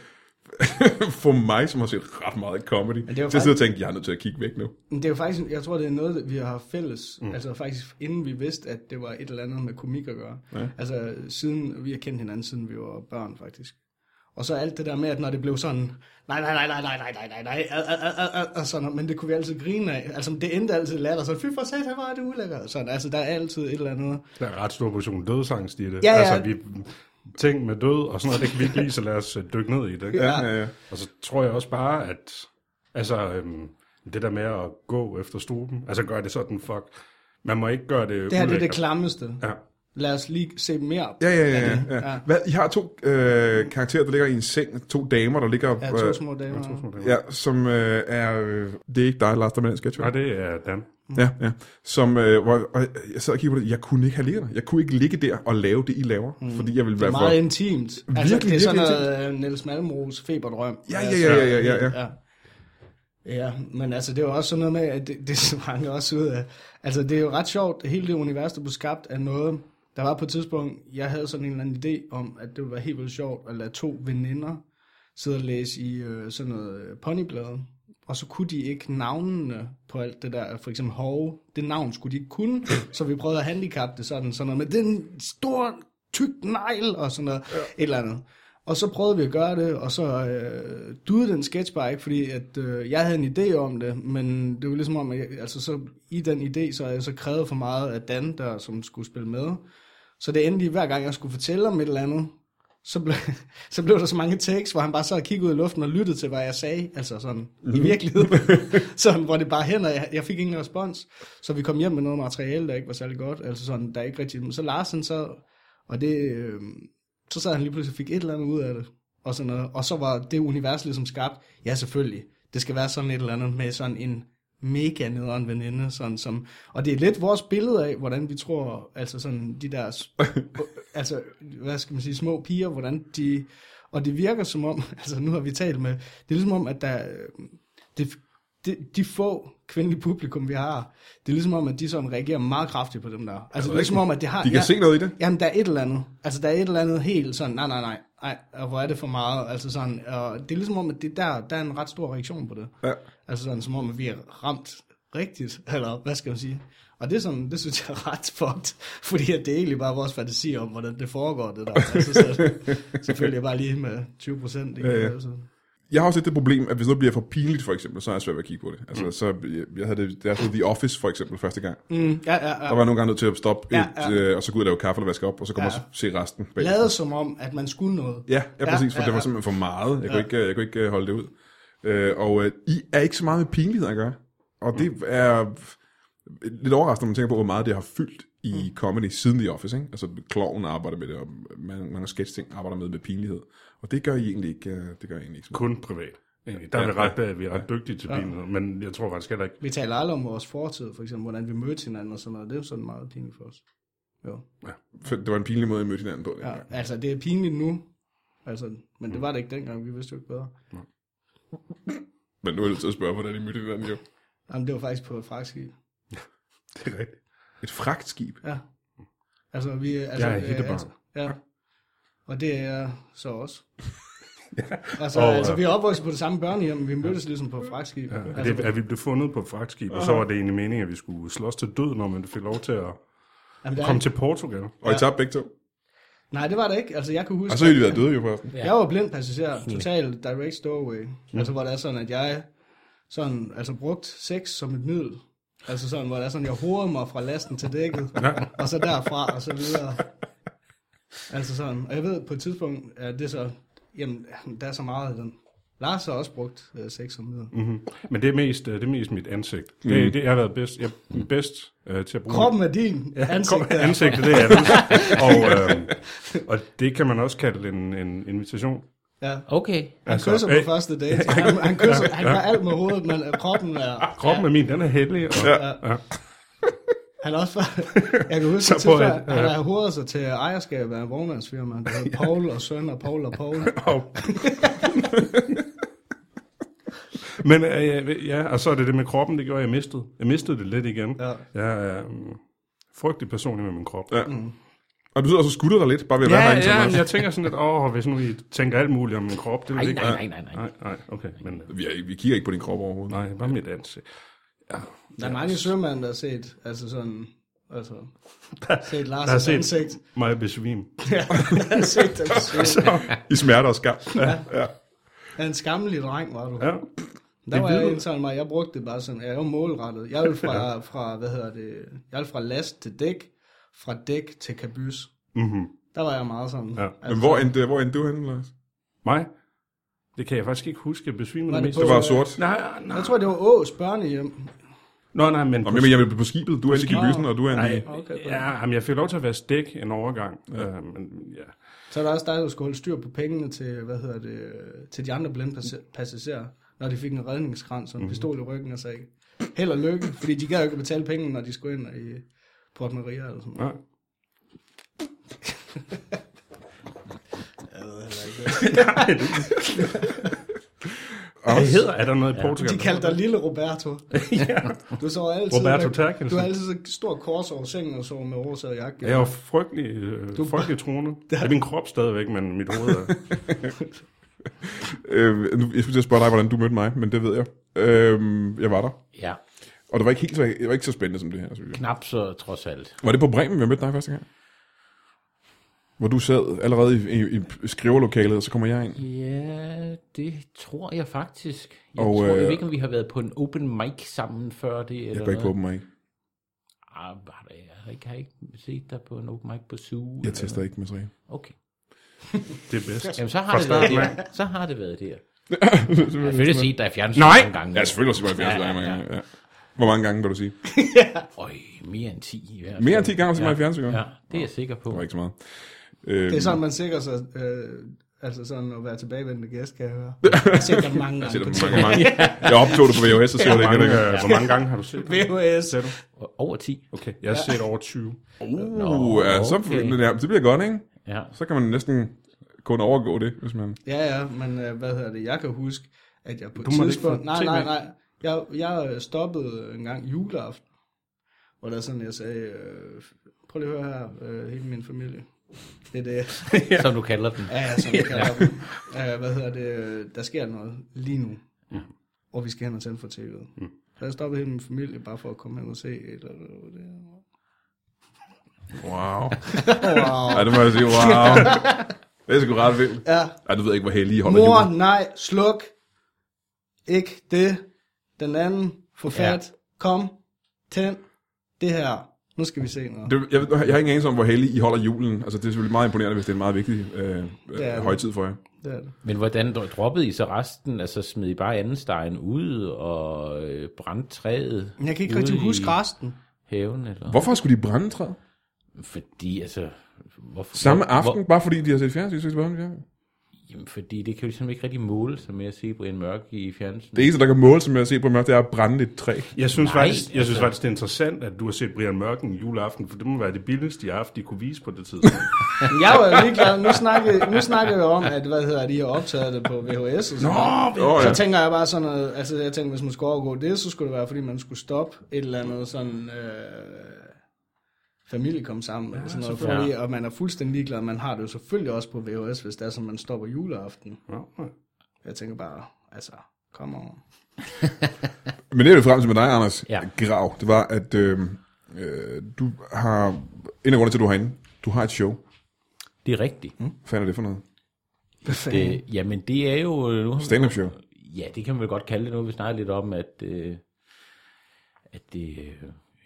for mig, som har set ret meget comedy, det til er jo at sidde og tænke, jeg er nødt til at kigge væk nu. Men det er jo faktisk, jeg tror, det er noget, vi har haft fælles. Mm. Altså faktisk, inden vi vidste, at det var et eller andet med komik at gøre. Ja. Altså, siden, vi har kendt hinanden, siden vi var børn, faktisk. Og så alt det der med, at når det blev sådan, nej, nej, nej, nej, nej, nej, nej, nej, nej, ad, ad, ad, ad, ad, og sådan, men det kunne vi altid grine af. Altså, det endte altid i latter, så fy for satan, hvor er det ulækkert. Sådan, altså, der er altid et eller andet. Der er en ret stor portion dødsangst i det. Ja, ja. Altså, vi, ting med død og sådan noget, det kan vi ikke lide, så lad os øh, dykke ned i det. ikke? Ja. Ja, ja. Og så tror jeg også bare, at altså, øhm, det der med at gå efter struben, altså gør det sådan, fuck. Man må ikke gøre Det det her det er det ulækkert. klammeste. Ja. Lad os lige se mere. Ja, ja, ja. ja. ja. Hvad, I har to øh, karakterer, der ligger i en seng, to damer, der ligger... Ja, to små damer. Øh, ja, som øh, er... Øh, det er ikke dig, Lars, der er med den sketch, Nej, vel? det er Dan. Ja, ja. Som, øh, hvor, og jeg sad og kiggede på det, jeg kunne ikke have ligget der. Jeg kunne ikke ligge der og lave det, I laver, mm. fordi jeg ville Det være er meget intimt. Altså, Virkelig, det er sådan virkelig noget uh, Niels Malmros feberdrøm. Ja, ja, Altså, ja, ja, ja, ja. ja. Ja, men altså, det er jo også sådan noget med, at det, det sprang også ud af... Altså, det er jo ret sjovt, at hele det univers, der blev skabt af noget... Der var på et tidspunkt, jeg havde sådan en eller anden idé om, at det ville være helt vildt sjovt at lade to veninder sidde og læse i øh, sådan noget øh, ponyblade. Og så kunne de ikke navnene på alt det der, for eksempel Hove, det navn skulle de ikke kunne, så vi prøvede at handicappe det sådan, sådan noget med den store, tyk negl og sådan noget, ja. et eller andet. Og så prøvede vi at gøre det, og så øh, duede den sketch bare ikke, fordi at, øh, jeg havde en idé om det, men det var ligesom om, at jeg, altså, så, i den idé, så havde jeg så krævet for meget af Dan, der som skulle spille med. Så det endte i, hver gang jeg skulle fortælle om et eller andet, så blev, så blev der så mange takes, hvor han bare sad og kiggede ud i luften og lyttede til, hvad jeg sagde, altså sådan i virkeligheden, sådan, hvor det bare hænder, jeg, jeg fik ingen respons, så vi kom hjem med noget materiale, der ikke var særlig godt, altså sådan, der ikke rigtig, men så Larsen sad, og det, øh, så sad han lige pludselig og fik et eller andet ud af det, og sådan noget, og så var det univers ligesom skabt, ja selvfølgelig, det skal være sådan et eller andet med sådan en mega nederen veninde, sådan som, og det er lidt vores billede af, hvordan vi tror, altså sådan de der, s- altså, hvad skal man sige, små piger, hvordan de, og det virker som om, altså nu har vi talt med, det er ligesom om, at der, øh, det, det, de få kvindelige publikum, vi har, det er ligesom om, at de sådan reagerer meget kraftigt på dem der. Altså det er ligesom om, at det har... De kan se noget i det. Jamen, der er et eller andet. Altså, der er et eller andet helt sådan, nej, nej, nej, nej, og hvor er det for meget? Altså sådan, og det er ligesom om, at det der, der er en ret stor reaktion på det. Ja. Altså sådan, som om, at vi er ramt rigtigt, eller hvad skal man sige? Og det, er sådan, det synes jeg er ret fucked, fordi at det er egentlig bare vores fantasi om, hvordan det foregår, det der. Altså, så, selvfølgelig bare lige med 20 procent. Altså. Ja, ja. Jeg har også lidt det problem, at hvis noget bliver for pinligt, for eksempel, så er jeg svært ved at kigge på det. Altså, mm. så, jeg, jeg havde det, da jeg så The Office, for eksempel, første gang. Mm. Mm, ja, ja, ja. Der var jeg nogle gange nødt til at stoppe, Ja, et, ja. Øh, og så gå ud og lave kaffe eller vaske op, og så kommer Ja. jeg og se resten. Bag. Lade som om, at man skulle noget. Ja, ja, præcis, for ja, det var simpelthen for meget. Jeg, kunne ikke, øh, jeg kunne ikke øh, holde det ud. Øh, og øh, I er ikke så meget med pinlighed at gøre. Og det er lidt overraskende, når man tænker på, hvor meget det har fyldt i comedy siden The Office. Ikke? Altså, Kloven arbejder med det, og man, mange sketch-ting arbejder med med pinlighed. Og det gør I egentlig ikke. øh, Det gør I egentlig ikke. så meget. Kun privat. Egentlig. Der er vi ret, vi er ret dygtige til pinlighed, men jeg tror faktisk heller ikke. Vi taler aldrig om vores fortid, for eksempel, hvordan vi mødte hinanden og sådan noget. Det er jo sådan meget pinligt for os. Jo. For Det var en pinlig måde, I mødte hinanden på. Ja, altså, det er pinligt nu. Altså, men det var det ikke dengang, vi vidste jo ikke bedre. Men nu er jeg nødt til at spørge, hvordan I mødte hinanden jo. Jamen, det var faktisk på et fragtskib. Det er rigtigt. Et fragtskib. Ja. Altså, vi... Altså, Jeg er hittebarn. altså, ja. Og det er så også. altså, Og, og, altså, øh, vi er opvokset på det samme børnehjem, men vi mødtes ligesom på et fragtskib. Ja, altså, Det, at vi blev fundet på et fragtskib, og så var det egentlig meningen, at vi skulle slås til død, når man fik lov til at jamen, der, komme er- til Portugal. Og I tabte begge to. nej, det var det ikke. Altså, jeg kan huske... Og så har I været døde jo forresten. Jeg var blind passager, total direct doorway. Altså, hvor det er sådan, at jeg sådan, altså, brugt sex som et middel. Altså sådan, hvor det er sådan, jeg hovedede mig fra lasten til dækket, og så derfra, og så videre. Altså sådan, og jeg ved på et tidspunkt, at det er så, jamen, der er så meget af den. Lars har også brugt øh, sex som middel. Mm. Mm-hmm. Men det er, mest, øh, det er mest mit ansigt. Det, det jeg har været bedst, jeg, er bedst øh, til at bruge... Kroppen er din, ansigtet Kom, er ansigtet, det er det. og, øh, og det kan man også kalde en, en invitation. Ja. Okay. Han Altså, altså, kysser på øh, første date. Han, han, kysser, han gør alt med hovedet, men øh, kroppen er... Kroppen ja. er min, den er heldig. Og, ja. Ja. Han er også fra, jeg kan huske, Så at på ja. et- han har hovedet sig til ejerskab af en vognmandsfirma. Han hedder Paul og Søn og Paul og Paul. Og, Men øh, ja, og så er det det med kroppen, det gjorde, at jeg mistede. Jeg mistede det lidt igen. Ja. Jeg er um, frygtelig personlig med min krop. Ja. Og du sidder også og skutter dig lidt, bare ved at være Ja, herinde så ja, meget. men jeg tænker sådan lidt, åh, hvis nu I tænker alt muligt om min krop, det vil Nej, jeg ikke. nej, nej, nej, nej. Nej, nej, okay, men øh, Vi, er, ikke- vi kigger ikke på din krop overhovedet. nej, bare mit ansigt. Der er mange sømænd, der har set, altså sådan, altså, set der har Lars' set- ansigt. Mig besvim. Han har set dem søge. I smerter og skam. Ja. ja. Han er en skammelig dreng, var du. Ja. Der var det jeg lyder- en sådan mig, jeg brugte det bare sådan, jeg var målrettet. Jeg ville fra, fra hvad hedder det, jeg ville fra last til dæk, fra dæk til kabys. Mm-hmm. Der var jeg meget sådan. Altså, Ja. Men Men hvor endte, hvor endte du henne, Lars? Mig? Det kan jeg faktisk ikke huske. Jeg besvimede Var det det mest. på- Det var sort. Nej, nej. Jeg tror, det var Ås børnehjem. Nå, nej, men... Nå, men jeg, jeg blev på skibet. Du er endelig i skibet. bysen, og du er endelig... Nej, okay, ja, jamen, jeg fik lov til at være stik en overgang. Ja. Øh, men, ja. Så er der også dig, der skulle holde styr på pengene til, hvad hedder det, øh, til de andre blindpassagerer, når de fik en redningskrans Mhm. og en pistol i ryggen og sagde, held og lykke, fordi de gad jo ikke at betale penge, når de skulle ind i Port Maria eller sådan noget. Ja. Hvad hedder? Er der noget i Portugal? De kaldte dig Lille Roberto. Du så altid, Roberto med, Terkelsen. du har altid så stor kors over sengen og sov med overside jakke. Jeg er jo frygtelig, øh, frygtelig troende. Det er min krop stadigvæk, men mit hoved er... Øh, nu- jeg skulle til at spørge dig, hvordan du mødte mig, men det ved jeg. Øh, jeg var der. Ja, Og det var ikke helt så, det var ikke så spændende som det her, synes jeg. knap så trods alt. Var det på Bremen, jeg mødte dig første gang? Hvor du sad allerede i, i, i skriverlokalet, og så kommer jeg ind. Ja, det tror jeg faktisk. Jeg Og, og, tror øh, øh, ikke, om vi har været på en open mic sammen før det. Eller Jeg går ikke på noget. open mic. Ah, har der- jeg har ikke, har ikke set dig på en open mic på SU. Jeg tester ikke med tre. Okay. Det er bedst. Jamen, så har Fra det været starten der. Så har det været der. Jeg har selvfølgelig set dig i fjernsynet Nej! nogle gange. Ja, selvfølgelig også, jeg fjernsyn mange gange. Ja. Hvor mange gange, vil du sige? Øj, mere end 10 i hvert fald. Mere end 10 gange, så meget i fjernsyn. Ja. Ja, det er jeg sikker på. Det var ikke så meget. Øh, Det er sådan, man sikrer sig øh, Altså sådan at være tilbagevendende gæst, kan jeg høre. Jeg har set dig mange Jeg ser gange det på mange, mange. Jeg optog det på VHS, og så Hvor det mange, ikke. øh, hvor mange gange har du set det? VHS. Ser du? O- Over 10. Okay, jeg har set over 20. Uh, ja, så okay. ja, det bliver godt, ikke? Ja. Så kan man næsten kun overgå det, hvis man... Ja, ja, men øh, hvad hedder det? Jeg kan huske, at jeg på Du et måtte ikke tidspunkt... få Nej, tv. nej, nej. Jeg, jeg øh, stoppede en gang juleaften, hvor der sådan, jeg sagde, øh, prøv lige at høre her, øh, hele min familie. Det er det. ja. Som du kalder den. Ja, ja, som jeg kalder dem. Øh, hvad hedder det? øh, Der sker noget lige nu, og vi skal hen og tænde for tv'et. Mm. Så jeg stoppede hele min familie bare for at komme hen og se et eller andet. Wow. Wow. Ej, det må jeg altså sige, wow. Det er sgu ret vildt. Ja, Ej, du ved ikke, hvor heldige I holder mor, julen. nej, sluk. Ikke det. Den anden, få fat. Kom, tænd. Det her. Nu skal vi se noget. Det, jeg, ved- jeg har ingen anelse om, hvor heldige I holder julen. Altså, det er selvfølgelig meget imponerende, hvis det er en meget vigtig øh, er øh, det. højtid for jer. Det er det. Men hvordan dro- droppede I så resten? Altså smed I bare andenstegen ud og øh, brændte træet? Men jeg kan ikke ude rigtig i huske resten. Haven, eller? Hvorfor skulle de brænde træet? Fordi, altså... Hvorfor, Samme hvor- aften, bare fordi de har set fjernsyn, så skal de brænde fjernsyn. Hvor, jamen, fordi det kan jo ligesom ikke rigtig måle sig med at se Brian Mørk i fjernsynet. Det eneste, der kan måle sig med at se på mørkt, det er at brænde et træ. Jeg synes, Nej, faktisk, jeg synes altså. faktisk, det er interessant, at du har set Brian Mørken juleaften, for det må være det billigste, jeg har haft, de kunne vise på det tidspunkt. Men Jeg var jo ligeglad. Nu snakkede, nu snakkede jeg om, at hvad hedder det, I har optaget det på VHS. Og sådan noget. Åh, Så ja. tænker jeg bare sådan noget, altså jeg tænker, hvis man skulle overgå det, så skulle det være, fordi man skulle stoppe et eller andet sådan, øh, familie kom sammen, ja, eller sådan noget, fordi, og man er fuldstændig ligeglad, man har det jo selvfølgelig også på VHS, hvis det er sådan, man stopper juleaften. Nå, nej. Jeg tænker bare, altså, kom over. Men det er jo frem til med dig, Anders ja. Ja. Grav. Det var, at øh, øh, du har... En af grundene til, at du er herinde, du har et show. Det er rigtigt. Mm. Hvad fanden er det for noget? Det, jamen, det er jo... øh, Nu har vi- Stand-up show. Ja, det kan man vel godt kalde det nu. Vi snakker lidt om, at, øh, at det øh,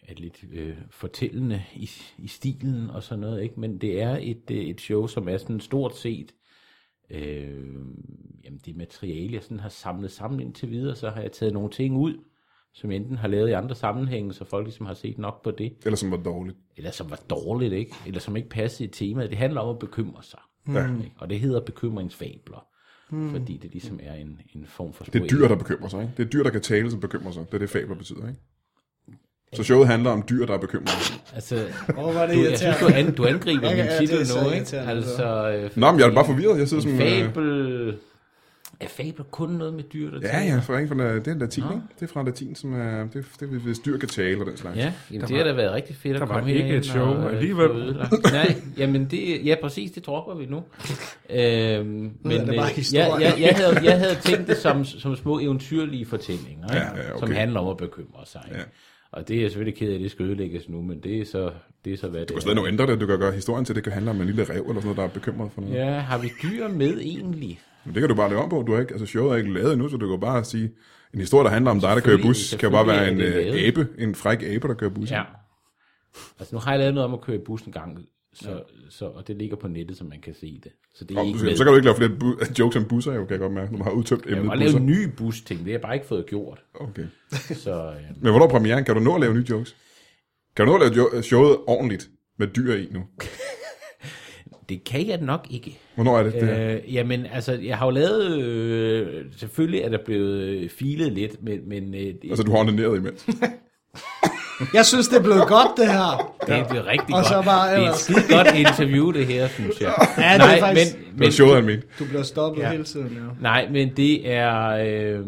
er lidt øh, fortællende i, i stilen og sådan noget. Ikke? Men det er et, øh, et show, som er sådan stort set... Øh, jamen det materiale, jeg sådan har samlet sammen indtil videre, så har jeg taget nogle ting ud, som jeg enten har lavet i andre sammenhænge, så folk ligesom har set nok på det, Eller som var dårligt. eller som var dårligt, ikke? eller som ikke passede i temaet. Det handler om at bekymre sig. Ja. Ikke? Og det hedder bekymringsfabler, mm. fordi det ligesom er en, en form for Det er dyr, der bekymrer sig, ikke? Det er dyr, der kan tale, som bekymrer sig. Det er det, fabler betyder, ikke? Så showet handler om dyr, der er bekymrede. Altså, Åh, hvor er det du, jeg synes, du, irriterende. an, du angriber Ja, min ja, titel det er så nu, ikke? irriterende, mm. Altså, øh, Nå, men jeg er bare forvirret. Jeg sidder en som... Øh, fabel... Er fabler kun noget med dyr, der ja, taler? ja, for ikke fra, det er latin, ikke? Det er fra latin, som er... Det, det er, hvis dyr kan tale og den slags. Ja, jamen, det har da været rigtig fedt at der var komme ikke herind et show og, øh, alligevel. få ødelagt. Nej, jamen det, ja præcis, det dropper vi nu. Øhm, men det øh, bare jeg, historien. jeg, jeg, havde, jeg havde tænkt det som, som små eventyrlige fortællinger, ikke? Ja, ja, okay. som handler om at bekymre sig. Ikke? Ja. Og det er jeg selvfølgelig ked af, at det skal ødelægges nu, men det er så, det er så hvad det, Du kan er. stadig nu ændre det. Du kan gøre historien til, at det kan handle om en lille rev eller sådan noget, der er bekymret for noget. Ja, har vi dyr med egentlig? Men det kan du bare lave om på. Du har ikke, altså showet er ikke lavet endnu, så du kan bare sige, en historie, der handler om dig, der kører bus, kan jo bare være en Selvfølgelig er det øh, lavet. abe, en fræk abe, der kører bus. Ja. Altså nu har jeg lavet noget om at køre i bus en gang, så, ja. så, og det ligger på nettet, så man kan se det. Så det er Nå, ikke du med. siger, så kan du ikke lave flere bu- jokes om busser, jo, kan jeg godt mærke, når man har udtømt jeg kan emnet bare lave busser. en ny bus-ting, det har jeg bare ikke fået gjort. Okay. Så øh, Men hvornår er premieren? Kan du nå at lave nye jokes? Kan du nå at lave jo- showet ordentligt med dyr i nu? det kan jeg nok ikke. Hvornår er det, det her? Øh, jamen, altså, jeg har jo lavet... Øh, selvfølgelig er der blevet øh, filet lidt, men, men øh, det, Altså, du har ordineret imens. Jeg synes, det er blevet godt, det her. det er blevet rigtig Og godt. så bare det er et ellers. skide godt interview, det her, synes jeg. Ja, det er faktisk- men, Det var showet, han mente. Du bliver stoppet Ja. hele tiden, ja. Nej, men det er... Øh,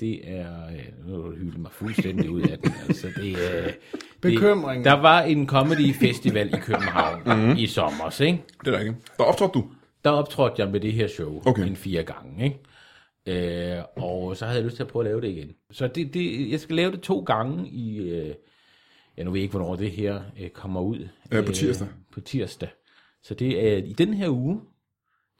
det er... øh, Nu har du hyldet mig fuldstændig ud af den. Altså, det, øh, det- Bekymring. Mhm. Der var en comedy festival i København mm-hmm. i sommer, ikke? Det er der ikke. Der optrådte du. Der optrådte jeg med det her show Okay. okay. en fire gange, ikke? Øh, og så havde jeg lyst til at prøve at lave det igen. Så det, det, jeg skal lave det to gange i... Øh, ja, nu ved jeg ikke, hvornår det her øh, kommer ud. Ja, på tirsdag. på tirsdag. Så det er i den her uge.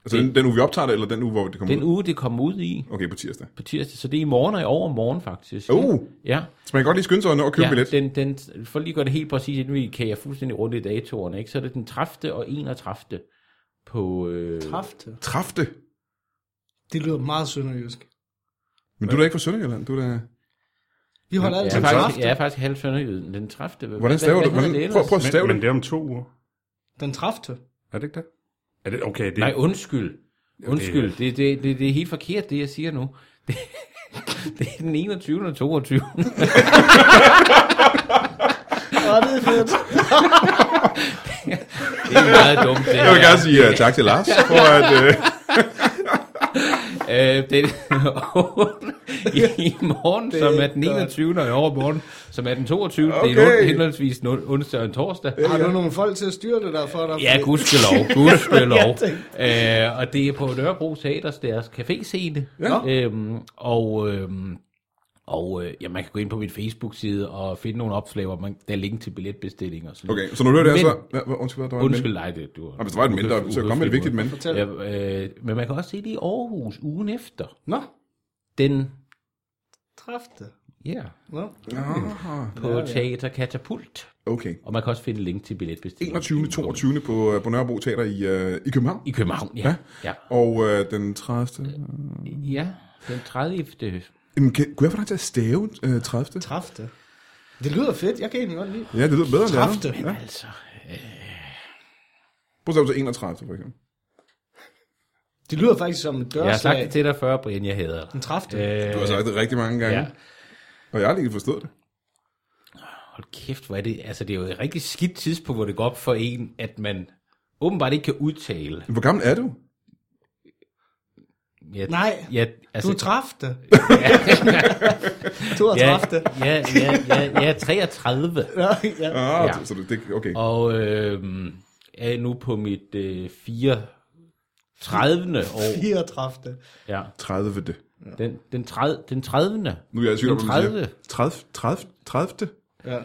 Altså, den, den uge, vi optager det, eller den uge, hvor det kommer Den ud? uge, det kommer ud i Okay, på tirsdag. på tirsdag. Så det er i morgen og i overmorgen, faktisk. Uh! Ja. Så man kan godt lige skynde sig at nå at købe ja, billet. Den, den, for lige at gøre det helt præcis, inden vi kan jeg fuldstændig rundt i datorerne, ikke? så er det den 30. og 31. på... Øh, Kræfte. Træfte. Det lyder meget sønderjysk. Men du er da ikke fra Sønderjylland. Du er da... Vi holder jeg, altid er ja, faktisk, jeg er faktisk halv sønderjyden. Den 30. Hvad- Hvordan staver hvad, du? Hvad hedder Hvordan, det prøv, ellers? prøv at stave Men, det. men det er om to uger. Den træfte. Er det ikke det? Er det, okay, det, Nej, undskyld. Undskyld, det, det, det, det er helt forkert, det jeg siger nu. Det, det er den 21. og 22. Åh, det er fedt. Det er meget dumt, det Jeg vil her. gerne sige uh, tak til Lars for at... Uh, Øh, den, i, I morgen, Det er som er den godt. 21. og i overmorgen, som er den 22. Okay. Det er Okay. en- henholdsvis en on- onsdag og en torsdag. Har du nogle folk til at styre det der for dig? Ja, Fordi- gudskelov, gudskelov. Jeg tænkte- øh, og det er på Nørrebro Teaters, deres café-scene. Ja. Øhm, og øhm, og øh, ja, man kan gå ind på min Facebook-side og finde nogle opslag, hvor man, der er link til billetbestilling og sådan okay, så når du hører det her, så... Men- Hva- hva- Undskyld, hvad, der var en Undskyld dig, det du men hvis der var et men, der- så kom med et vigtigt men. Fortæl. Ja, øh, men man kan også se det i Aarhus ugen efter. Nå, Den, træf det. ja, Nå. mand. på Teater Katapult. Ah, Okay. Og man kan også finde link til billetbestilling. 21. 22. på, øh, på Nørrebro Teater i, øh, i København. I København, ja. Ja. Ja, Og øh, den 30. ja den 30. Jamen, kan, kunne jeg få dig til at stave øh, 30. Træf det. Det lyder fedt. Jeg kan egentlig godt lide det. Ja, det lyder bedre end det Træf andet. det. Men altså, Prøv at stave til 31, for eksempel. Det lyder faktisk som et jeg har sagt det dørslag. til dig før, Brian, jeg hader dig. Den træf det. Du har sagt det rigtig mange gange. Ja. Og jeg har ikke forstået det. Hold kæft, hvor er det, altså det er jo et rigtig skidt tidspunkt, hvor det går op for en, at man åbenbart ikke kan udtale. Hvor gammel er du? Jeg, Nej, jeg, Du altså, traf det. du har jeg, traf det. jeg, jeg, jeg, jeg er 33, Ja, ja. Ah, Ja. ja. så det, det- okay. og øh, er nu på mit øh, 34. år. Fire traf det. Ja, 30 ved det. den, den, 30, den 30. Nu er jeg i tvivl om, Den hvad man 30. siger. 30. 30. 30. Ja.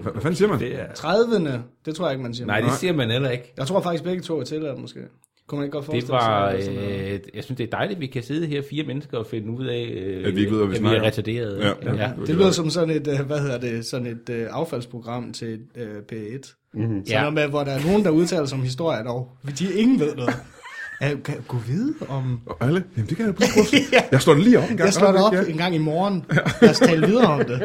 Hvad, hvad fanden siger man? Det er... 30'erne, det tror jeg ikke, man siger. Nej, det siger man heller ikke. Jeg tror faktisk, begge to er tilladt, måske. Kunne man ikke godt Det forestille var, sig? eller sådan noget? øh, jeg synes, det er dejligt, at vi kan sidde her fire mennesker og finde ud af, øh, At vi ikke ved, hvad vi at snakker er om. retarderede. Ja, ja. ja. det lyder som sådan et, øh, hvad hedder det, sådan et øh, affaldsprogram til øh, P1. Mm-hmm. Sådan Ja. noget med, hvor der er nogen, der udtaler sig om historie, dog. De ingen ved noget. Jeg kan gå vide om... Og alle? Jamen, det kan jeg da prøve. ja. Jeg slår den lige op en gang. Jeg slår det op Ja. en gang i morgen. Lad os tale videre om det.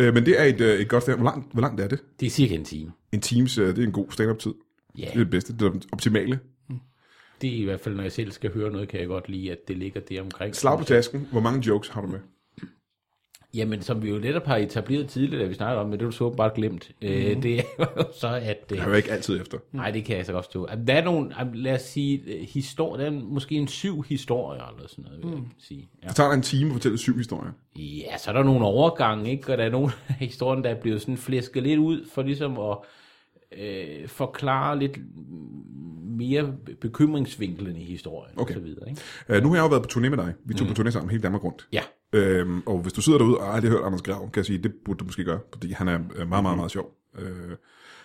Øh, men det er et, øh, et godt sted. Hvor langt, hvor langt er det? Det er cirka en time. En times, øh, det er en god stand-up-tid. Ja, Det er det bedste, det er det optimale. det er i hvert fald, når jeg selv skal høre noget, kan jeg godt lide, at det ligger der omkring. Slag på tasken. Hvor mange jokes har du med? Jamen, som vi jo netop har etableret tidligere, da vi snakkede om, men det var så åbenbart glemt. Mm. Det er jo så, at... Jeg Øh, hører ikke altid efter. nej, det kan jeg så godt stå. Jamen, Der er nogle, jamen, lad os sige, historie, der er måske en syv historier, eller sådan noget, vil jeg sige. Ja. Det tager dig en time at fortælle syv historier. Ja, så er der nogle overgange, ikke? Og der er nogle af historien, der er blevet sådan flæsket lidt ud, for ligesom at øh, forklare lidt mere bekymringsvinklen i historien, okay. Okay. og så videre, ikke? Øh, nu har jeg jo været på turné med dig. Vi tog mm. på turné sammen hele Danmark rundt. Ja, Øhm, og hvis du sidder derude og aldrig har hørt Anders Grav, kan jeg sige, det burde du måske gøre, fordi han er øh, meget, meget, meget sjov. Øh,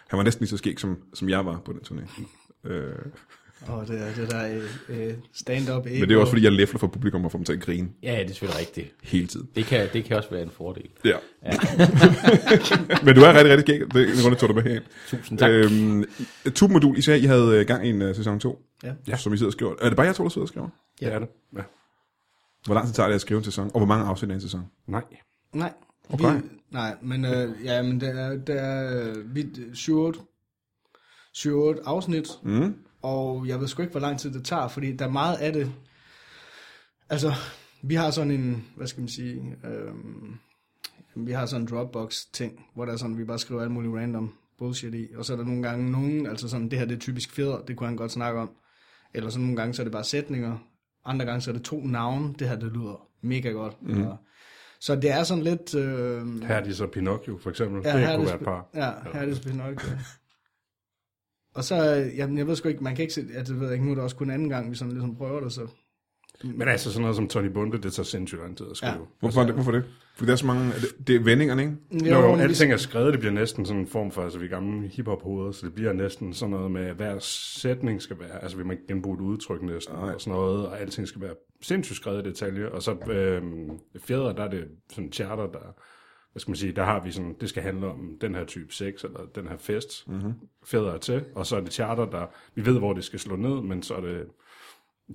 han var næsten lige så skæg, som, som jeg var på den turné. Øh, Og det er det der øh, stand-up men det er også, fordi jeg læfler for publikum og får dem til at grine ja, det er selvfølgelig rigtigt. hele tiden. Det kan, det kan også være en fordel. Ja. men du er rigtig, rigtig skæg. Det er en grund, jeg tog dig med herind. Tusind tak. Øh, Øhm, Tubemodul, I sagde, I havde øh, gang i en uh, sæson 2, Ja. ja. som I sidder og skriver. Er det bare jeg to, der sidder og skriver? Ja. Ja. Det er det. Ja. Hvor lang tid tager det at skrive en sæson? Og hvor mange afsnit er en sæson? Nej. Nej. Okay. Vi, nej, men, øh, ja, men der, er- der er øh, vi, 7-8, 7-8 afsnit, Mm. og jeg ved sgu ikke, hvor lang tid det tager, fordi der er meget af det. Altså, vi har sådan en, hvad skal man sige, øh, vi har sådan en Dropbox-ting, hvor der er sådan, vi bare skriver alt muligt random bullshit i, og så er der nogle gange nogen, altså sådan, det her det er typisk fjeder, det kunne han godt snakke om, eller sådan nogle gange, så er det bare sætninger, andre gange, så er det to navne, det her det lyder mega godt, mm. eller, så det er sådan lidt... Øh, Mhm. Her er de så Pinocchio, for eksempel. Ja, det her er det kunne være et sp- par. Ja, her er det Spinocchio. og så, øh, jamen, jeg ved sgu ikke, man kan ikke se, at det ved jeg ikke, nu er det også kun anden gang, vi sådan ligesom prøver det, så. Men altså sådan noget som Tony Bunde, det tager sindssygt lang tid at skrive. Hvorfor, er det, hvorfor er det? Fordi der er så mange... er Det, det er vendingerne, ikke? Ja. Når jo, men vi- alting er skrevet, det bliver næsten sådan en form for, altså vi er gamle hiphop-hoveder, så det bliver næsten sådan noget med, hver sætning skal være, altså vil man genbruge et udtryk næsten, og sådan noget, og alting skal være sindssygt skrevet i detalje, og så øh, fjeder, der er det sådan charter, der, hvad skal man sige, der har vi sådan, det skal handle om den her type sex, eller den her fest, mm-hmm. fjeder er til, og så er det charter, der, vi ved, hvor det skal slå ned, men så er det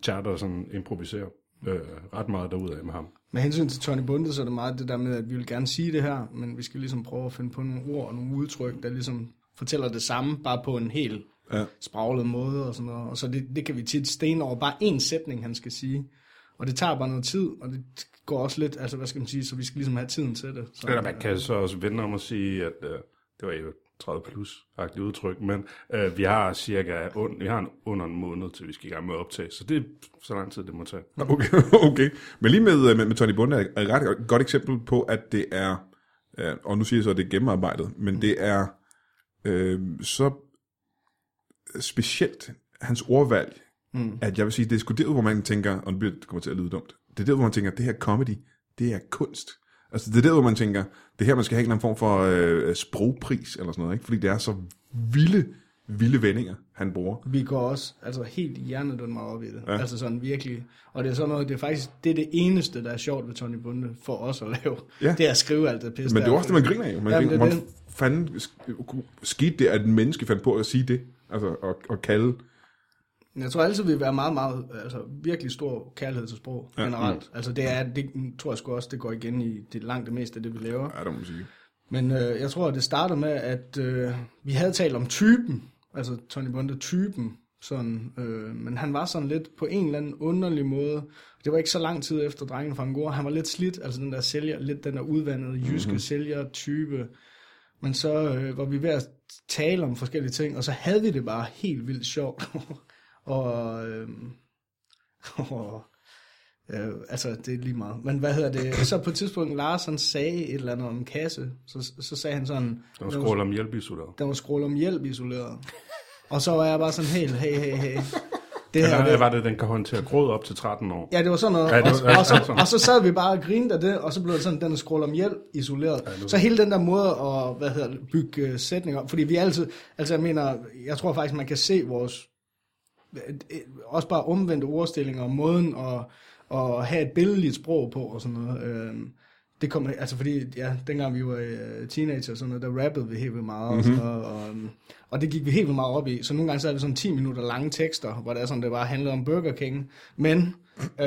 charter, der sådan improviserer øh, ret meget derudad med ham. Med hensyn til Tony Bunde, så er det meget det der med, at vi vil gerne sige det her, men vi skal ligesom prøve at finde på nogle ord og nogle udtryk, der ligesom fortæller det samme, bare på en helt Ja. spraglede måde og sådan noget. Og så det, det kan vi tit stene over bare en sætning, han skal sige. Og det tager bare noget tid, og det går også lidt, altså hvad skal man sige, så vi skal ligesom have tiden til det. Så, Eller man kan så også vende om og sige, at øh, det var jo 30 plus agtigt udtryk, men øh, vi har cirka un, vi har en, under en måned, til vi skal i gang med at optage, så det er så lang tid, det må tage. Okay, okay. Men lige med, med, med Tony Bunde er et ret godt eksempel på, at det er, øh, og nu siger jeg så, at det er gennemarbejdet, men det er øh, så specielt hans ordvalg, mm. at jeg vil sige, det er sgu der, hvor man tænker, og det bliver- det kommer til at lyde dumt, det er der, hvor man tænker, det her comedy, det er kunst. Altså det er der, hvor man tænker, det er her, man skal have en eller anden form for øh, sprogpris eller sådan noget, ikke? fordi det er så vilde, vilde vendinger, han bruger. Vi går også altså helt hjernedødt meget op i det. Ja. Altså sådan virkelig. Og det er sådan noget, det er faktisk det, er det eneste, der er sjovt ved Tony Bunde for os at lave. Ja. Det er at skrive alt det pisse. Men det er der. jo også det, man griner af. jo. Man Jamen, Jamen, griner, det er hvordan fanden sk- skete det, at en menneske fandt på at sige det? Altså, og, og kalde... Men Jeg tror altid, vi vil være meget, meget, altså virkelig stor kærlighed til sprog ja. generelt. Altså det er, det tror jeg sgu også, det går igen i det langt det meste af det, vi laver. Ja, det må man sige. Men øh, jeg tror, at det starter med, at øh, vi havde talt om typen, altså Tony Bunde typen, sådan, øh, men han var sådan lidt på en eller anden underlig måde. Det var ikke så lang tid efter drengen fra Angora. Han var lidt slidt, altså den der sælger, lidt den der udvandede jyske mm-hmm. sælger-type. Men så øh, var vi ved at tale om forskellige ting, og så havde vi det bare helt vildt sjovt. og, øh, og Øh, altså, det er lige meget. Men hvad hedder det? Så på et tidspunkt, Lars han sagde et eller andet om en kasse. Så, så sagde han sådan... Der var skrål om hjælp i soldater. Der var scroll om hjælp isoleret. Og så var jeg bare sådan helt, hey, hey, hey. Det her, Eller øh, det, var det, den kan håndtere gråd op til 13 år? ja, det var sådan noget. Ja, det var- og, ja, og, så, sådan. og så sad vi bare og grinede af det, og så blev det sådan, den er scroll om hjælp isoleret. Så hele den der måde at hvad hedder, det, bygge øh, sætninger op. Fordi vi altid... Altså, jeg mener, jeg tror faktisk, man kan se vores øh, også bare omvendte ordstillinger og måden at, at have et billedligt sprog på og sådan noget. Øh, det kom, altså fordi, ja, dengang vi var øh, teenager og sådan noget, der rappede vi helt vildt meget, mm-hmm. og, sådan noget, og, Mhm. øhm, og, det gik vi helt vildt meget op i. Så nogle gange så havde vi sådan 10 minutter lange tekster, hvor det er sådan, det bare handlede om Burger King. Men øh,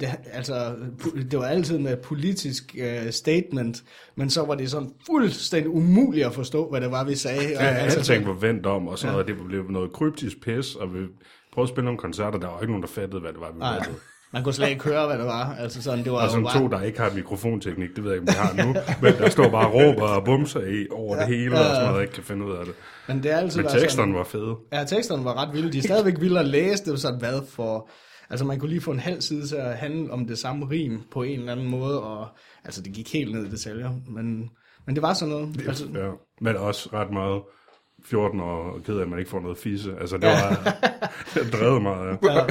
det, altså, pu- det var altid med politisk øh, statement, men så var det sådan fuldstændig umuligt at forstå, hvad det var, vi sagde. Og, altså, Ja, alting var altså, vendt om, og sådan noget, det blev noget kryptisk pis, og vi prøvede at spille nogle koncerter, der var ikke nogen, der fattede, hvad det var, vi Nej, altså, lavede. man kunne slet ikke høre, hvad det var. Altså sådan, det var Og jo sådan bare... to, der ikke har mikrofonteknik, det ved jeg ikke, om de har nu, men der står bare og råber og bumser i over det hele, og sådan noget, og ikke kan finde ud af det. Men det er altid Men været teksterne var fede. Sådan, ja, teksterne var ret vilde. De er stadigvæk vilde at læse. Det var sådan, hvad for... Altså, man kunne lige få en halv side til at handle om det samme rim på en eller anden måde, og altså, det gik helt ned i detaljer, men, men det var sådan noget. Altså, Ja, men også ret meget 14 år og ked af, at man ikke får noget fisse. Altså, det var det drevet meget. Ja.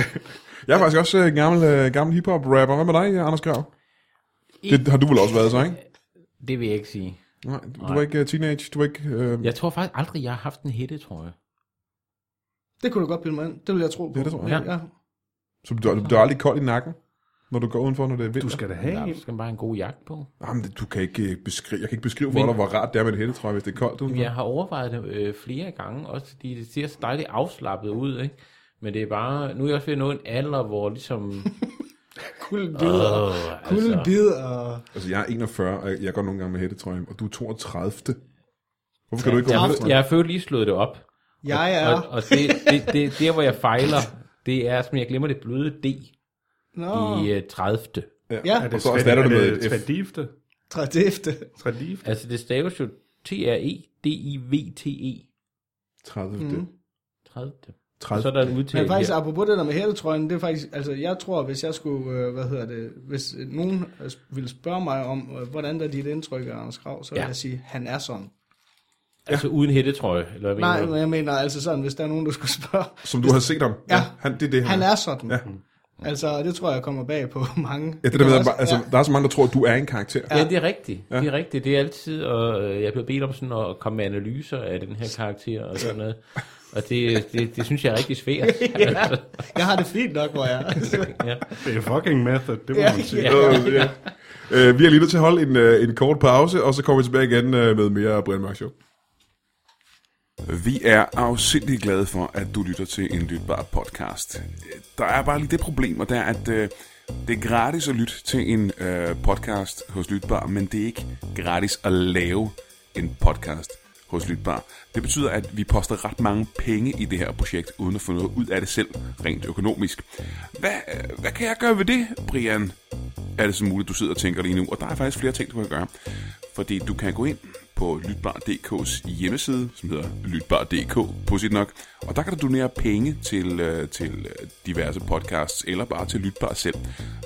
Jeg er faktisk også øh, en gammel, øh, gammel hip-hop-rapper. Hvad med dig, øh, Anders Grav? Det har du vel også været så, ikke? Det vil jeg ikke sige. Nej, du, du var ikke øh, teenage, du var ikke... Øh, ja. Jeg tror faktisk aldrig, jeg har haft en hætte, tror jeg. det kunne du godt bilde mig ind. Det ville jeg tro på. Ja, det tror jeg. Ja. Så du, du, du er aldrig kold i nakken, når du går udenfor, når det er vinter? Du skal da Der have er en. skal bare en god jagt på. Jamen, det, du kan ikke øh, beskrive, jeg kan ikke beskrive for Men- dig, hvor rart det er med en hættetrøje, hvis det er koldt udenfor. Jeg har overvejet det øh, flere gange, også fordi det ser så dejligt afslappet ud, ikke? Men det er bare, nu er jeg også ved at nå en alder, hvor ligesom... Kulden bider. Åh, Kulden altså, bider, og... Altså, jeg er 41, og jeg- jeg går nogle gange med hættetrøje, og du er 32. Hvorfor kan du ikke gå med jeg- hættetrøje? jeg har følt lige slået det op. Jeg Og, er... og det, det, det, der, hvor jeg fejler, det er, som jeg glemmer det bløde D Nå, i øh, 30. ja, Og så erstatter du med et F. Tradifte. trædifte. Tradifte. Altså, det staves jo E T-R-E-D-I-V-T-E. 30. Mm. 30. 30. Så er der en Men udtale faktisk, her. apropos det der med hættetrøjen, det er faktisk, altså jeg tror, hvis jeg skulle, øh, hvad hedder det, hvis øh, nogen øh, ville spørge mig om, øh, hvordan der er dit indtryk af Anders Krav, så vil Ja. jeg sige, han er sådan. Altså uden hættetrøje, eller hvad Nej, mener du? men jeg mener altså sådan, hvis der er nogen, der skulle spørge. Som du har set ham. Ja. Han, det er det, Han er sådan. Ja. Altså, det tror jeg kommer bag på mange. Ja, det der med, kan at, også- altså, ja. der er så mange, der tror, at du er en karakter. Ja, det er rigtigt. Ja. Det er rigtigt. Det er altid, og øh, jeg bliver bedt om sådan at komme med analyser af den her karakter og sådan noget. Og det, det, det synes jeg er rigtig svært. Altså, Jeg har det fint nok, hvor jeg er. ja. Det er fucking method, det må Ja, man sige. ja. Øh, ja. Øh, vi er lige nødt til at holde en, øh, en kort pause, og så kommer vi tilbage igen øh, med mere Brian Mørk Show. Vi er afsindelig glade for, at du lytter til en lytbar podcast. Øh, Der er bare lige det problem, og det er, at øh, det er gratis at lytte til en øh, podcast hos Lytbar, men det er ikke gratis at lave en podcast hos Lytbar. Det betyder, at vi poster ret mange penge i det her projekt, uden at få noget ud af det selv, rent økonomisk. Hvad, øh, hvad kan jeg gøre ved det, Brian? Er det så muligt, du sidder og tænker lige nu? Og der er faktisk flere ting, du kan gøre. Fordi du kan gå ind på Lytbar.dk's hjemmeside, som hedder Lytbar.dk, på sit nok. Og der kan du donere penge til, øh, til øh, diverse podcasts, eller bare til Lytbar selv.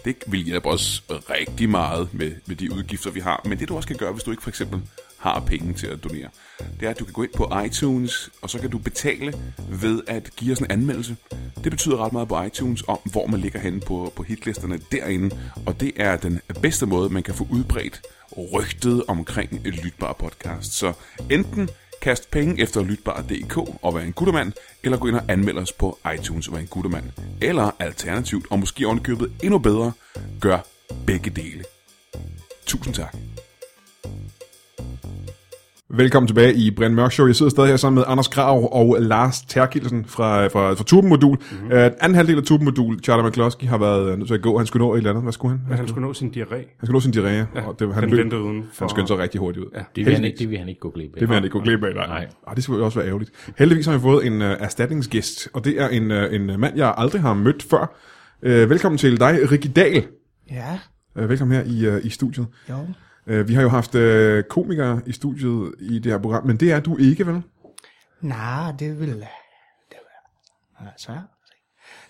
Det vil hjælpe os rigtig meget med, med de udgifter, vi har. Men det du også kan gøre, hvis du ikke for eksempel har penge til at donere, det er, at du kan gå ind på iTunes, og så kan du betale ved at give os en anmeldelse. Det betyder ret meget på iTunes om, hvor man ligger henne på, på hitlisterne derinde, og det er den bedste måde, man kan få udbredt rygtet omkring et lytbar podcast. Så enten kast penge efter lytbar.dk og være en guttermand, eller gå ind og anmeld os på iTunes og være en guttermand. Eller alternativt, og måske ovenikøbet endnu bedre, gør begge dele. Tusind tak. Velkommen tilbage i Brian Mørk Show. Jeg sidder stadig her sammen med Anders Grav og Lars Terkelsen fra, fra, fra Turbenmodul. Mm-hmm. Øh, anden halvdel af Turbenmodul, Charlie McCloskey, har været øh, nødt til at gå. Han skulle nå et eller andet. Hvad skulle han? Men han skulle nå sin diarré. Han skulle nå sin diarré, ja, og det, han, den løb- ventede udenfor. han skyndte sig rigtig hurtigt ud. Ja. Det vil, han ikke, det vil han ikke gå glip af. Det vil han ikke gå glip af, nej. Nej. Og det skulle også være ærgerligt. Heldigvis har vi fået en uh, erstatningsgæst, og det er en, uh, en mand, jeg aldrig har mødt før. Uh, velkommen til dig, Rikki Dahl. Ja, Uh, velkommen her i, uh, i studiet. jo. Uh, vi har jo haft uh, komikere i studiet i det her program, men det er du ikke, vel? Nej, det vil... Det vil være svært.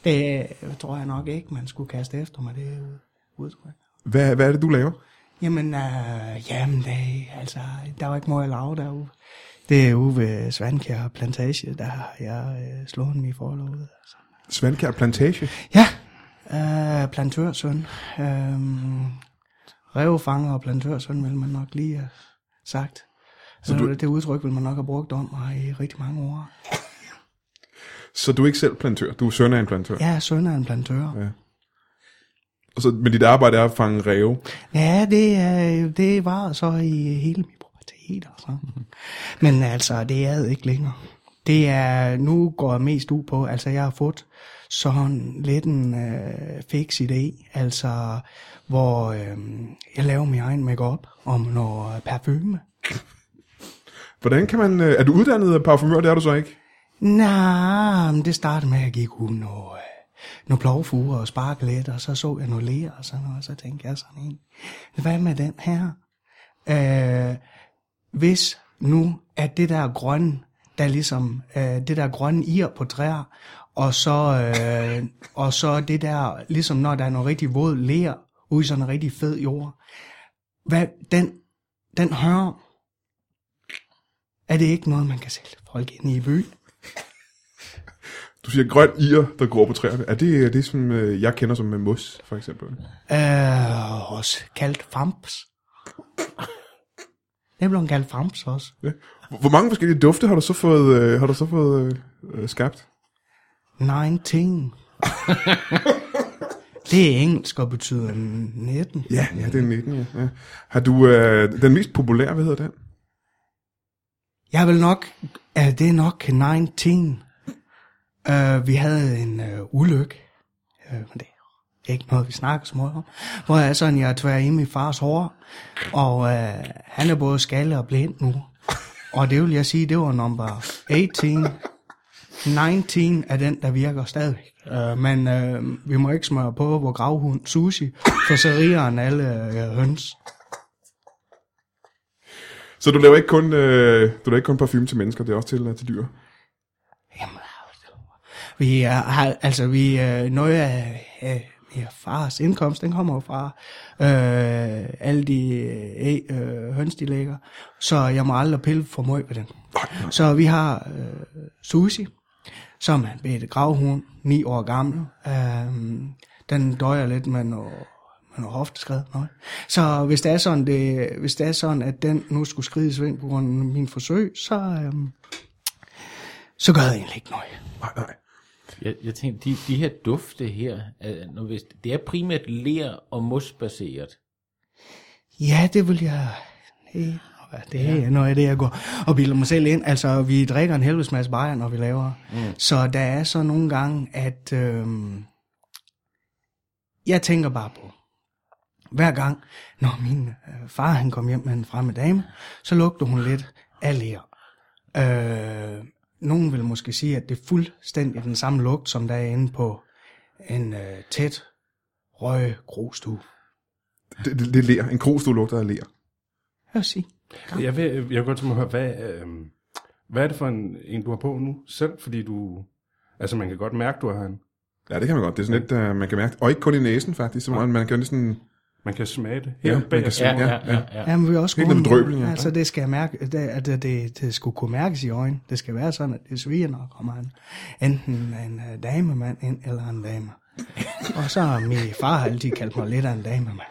Det tror jeg nok ikke, man skulle kaste efter mig, det udtryk. Hvad, hvad er det, du laver? Jamen, øh, jamen det, altså, der var ikke meget lav derude. Det er ude ved Svandkær Plantage, der har jeg øh, slået min forlov ud. Altså. Svandkær Plantage. Ja, øh, plantørsøn. Øh, revfanger og plantørsøn vil man nok lige have sagt. Så du... Det udtryk vil man nok have brugt om mig i rigtig mange år. Så du er ikke selv plantør, du er søn af en plantør. Ja. Jeg er søn af en plantør. Ja. Og så, men dit arbejde er at fange ræve. Ja, det, øh, det var så i hele min pubertet. Altså. Men altså, det er det ikke længere. Det er, nu går jeg mest ud på, altså jeg har fået sådan lidt en øh, fix idé, altså hvor øh, jeg laver min egen makeup om noget parfume. Hvordan kan man... øh, Er du uddannet parfumør? Det er du så ikke. Nej, men det startede med, at jeg gik ud noget, øh, nogle plovfuger og sparklet, og så så jeg noget ler og sådan noget, og så tænkte jeg sådan en, hvad med den her? Øh, hvis nu at det der grønne, der ligesom, øh, det der grønne ir på træer, og så, øh, og så det der, ligesom når der er noget rigtig våd ler, ude i sådan en rigtig fed jord, hvad, den, den hører, er det ikke noget, man kan sælge folk ind i byen? Du siger grøn ir, der gror på træerne. Er det øh, det, som øh, jeg kender som øh, mos, for eksempel? Øh, også kaldt famps. Det blev kaldt famps også. Ja. Hvor- Hvor mange forskellige dufte har du så fået, øh, har du så fået øh, øh, skabt? 19. det er engelsk og betyder 19. Ja, ja, det er 19, ja. ja. Har du øh, den mest populære, hvad hedder den? Jeg vil nok, ja, det er nok 19. Uh, vi havde en uh, ulykke, uh, men det er ikke noget, vi snakker så meget om, hvor jeg sådan, jeg tvær i min fars hår, og uh, han er både skalle og blind nu. Og det vil jeg sige, det var nummer 18. 19 er den, der virker stadigvæk. Uh, men uh, vi må ikke smøre på vores gravhund Sushi, for så riger han alle uh, høns. Så du laver ikke kun, øh, du laver ikke kun parfume til mennesker, det er også til, øh, til dyr. Jamen, vi er, har, altså, vi, øh, noget af øh, min fars indkomst, den kommer jo fra øh, alle de øh, øh, høns, de lægger. Så jeg må aldrig pille for meget ved den. Så vi har øh, Susi, som er en bitte gravhund, ni år gammel. Øh, den døjer lidt med noget, med noget hofteskred. Noget. Så hvis det, er sådan, det, hvis det er sådan, at den nu skulle skrides ind på grund af min forsøg, så... Øh, så gør jeg egentlig ikke noget. Nej, nej. Jeg, jeg tænkte, de, de her dufte her, er, nu hvis, det er primært ler og mosbaseret. Ja, det vil jeg... Det, det er noget af det, jeg går og bilder mig selv ind. Altså, vi drikker en helvedes masse bajer, når vi laver. Mm. Så der er så nogle gange, at... Øhm, jeg tænker bare på, hver gang, når min øh, far han kom hjem med en fremme dame, så lugtede hun lidt af ler. Øh, nogen vil måske sige, at det er fuldstændig den samme lugt, som der er inde på en øh, tæt røg grostue. Det, det, det er ler. En krogstol lugter af ler. Hør sige. Jeg vil, jeg vil godt tænke mig at høre, hvad, øhm, hvad er det for en, en, du har på nu selv? Fordi du... Altså, man kan godt mærke, du har en. Ja, det kan man godt. Det er sådan lidt, uh, man kan mærke. Og ikke kun i næsen, faktisk. Så man, man kan jo næsten... Man kan smage det. Ja, Her man kan smage- ja. ja, ja. ja. Ja, men vi er også Helt gode lidt med- drøbelig, ja. Altså, det skal jeg mærke, det, at det, det, det skulle kunne mærkes i øjnene. Det skal være sådan, at det sviger, når der kommer en, enten en uh, damemand ind, eller en dame. og så har min far altid kaldt mig lidt af en damemand.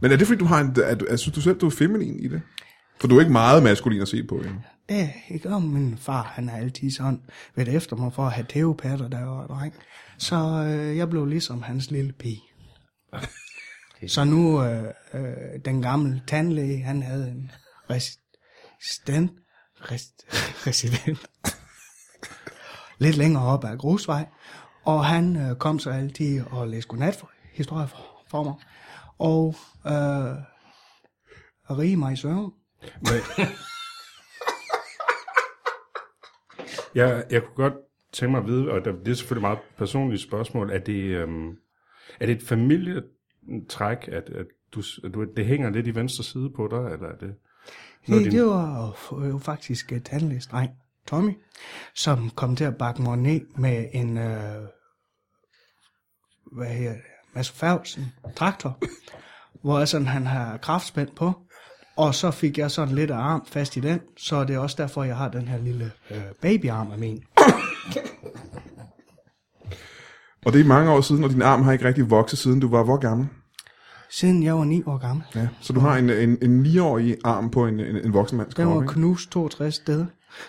Men er det, fordi du har en... Er, du- er, synes du selv, du er feminin i det? For du er ikke meget maskulin at se på. Ja. Det er ikke om min far, han er altid sådan ved efter mig for at have tævepatter, der var dreng. Så øh, jeg blev ligesom hans lille pige. Så nu, øh, øh, den gamle tandlæge, han havde en resistent, rest, resident, lidt længere op ad Grusvej, og han øh, kom så altid og læste godnathistorier for, for mig, og øh, rige mig i søvn. Jeg, jeg kunne godt tænke mig at vide, og der- det er selvfølgelig meget personligt spørgsmål, er det, øhm, er det et familietræk, at, at du, s- at du, det hænger lidt i venstre side på dig, eller er det... noget, Det, din- det var jo- jo faktisk øh, tandlægestreng Tommy, som kom til at bakke mig ned med en, øh, hvad her, Mads Færgsen traktor, hvor jeg sådan, han har kraftspænd på, og så fik jeg sådan lidt af arm fast i den, så det er også derfor, jeg har den her lille øh, babyarm af min. Og det er mange år siden, og din arm har ikke rigtig vokset, siden du var hvor gammel? Siden jeg var 9 år gammel. Ja. Så du har en, en, en 9-årig arm på en, en, en voksen mands Den krop, var ikke? knust 62 steder.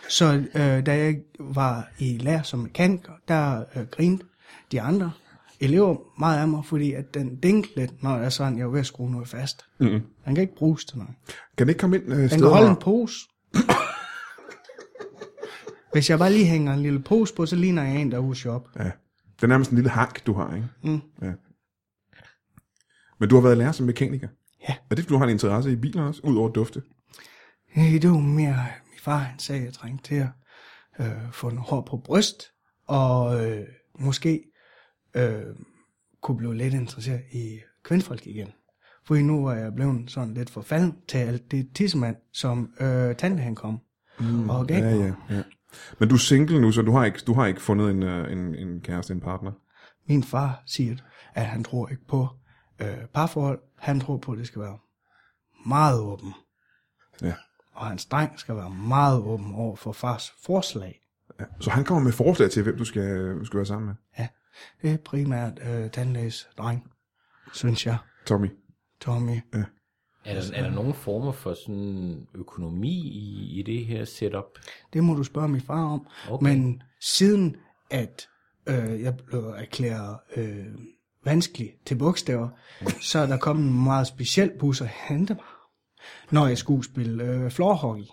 Så øh, da jeg var i lærer som mekaniker, der øh, grinte de andre elever meget af mig, fordi at den dinkede lidt, når jeg er sådan, jeg var ved at skrue noget fast. Mm-hmm. Den kan ikke bruges til noget. Kan den ikke komme ind øh, Den steder, kan holde en hvor... pose. Hvis jeg bare lige hænger en lille pose på, så ligner jeg en, der huser op. Ja. Det er nærmest en lille hank, du har, ikke? Mm. Ja. Men du har været lærer som mekaniker. Ja. Er det, fordi du har en interesse i biler også, ud over dufte? Øh, Det var mere, at min far han sagde, at jeg trængte til at øh, få noget hår på bryst, og øh, måske øh, kunne blive lidt interesseret i kvindfolk igen. Fordi nu var jeg blevet sådan lidt forfalden til alt det tissemand, som øh, tante han kom. Mm, og gav. Ja, ja, ja. Men du er single nu, så du har ikke, du har ikke fundet en, øh, en, en kæreste, en partner. Min far siger, at han tror ikke på øh, parforhold. Han tror på, at det skal være meget åben. Ja. Og hans dreng skal være meget åben over for fars forslag. ja. Så han kommer med forslag til, hvem du skal, skal være sammen med. Ja, det er primært øh, tandlæges dreng, synes jeg, Tommy. Tommy. Er, der, er der nogen former for sådan økonomi i, i det her setup? Det må du spørge min far om. Okay. Men siden at øh, jeg blev erklæret øh, vanskelig til bogstaver, så er der kommet en meget speciel bus at hente mig, når jeg skulle spille øh, floorhockey.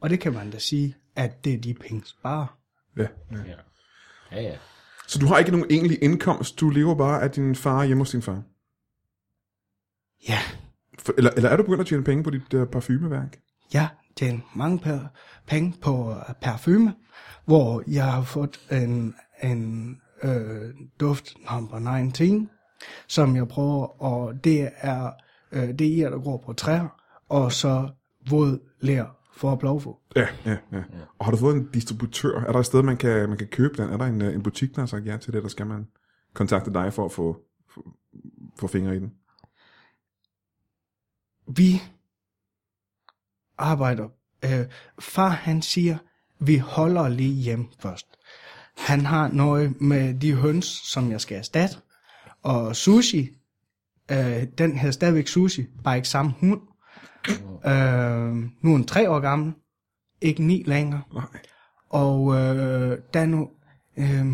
Og det kan man da sige, at det er de penge sparer. Ja. ja. Ja. Ja, ja. Så du har ikke nogen egentlig indkomst, du lever bare af din far hjemme hos din far? Ja, For, eller, eller er du begyndt at tjene penge på dit uh, parfumeværk? Jeg tjener mange per, penge på øh, parfume, hvor jeg har fået en, en øh, duft number 19, som jeg prøver, og det er øh, det er der går på træer, og så våd lær for at blåfå. Ja, ja, ja. Og har du fået en distributør? Er der et sted, man kan, man kan købe den? Er der en, øh, en butik, der har sagt ja til det, der skal man kontakte dig for at få, få, få fingre i den? Vi arbejder. Øh, far han siger, vi holder lige hjem først. Han har noget med de høns, som jeg skal erstatte. Og sushi, øh, den hedder stadigvæk sushi, bare ikke samme hund. Øh, nu er den tre år gammel, ikke ni længere. Nej. Og øh, der er nu... Øh,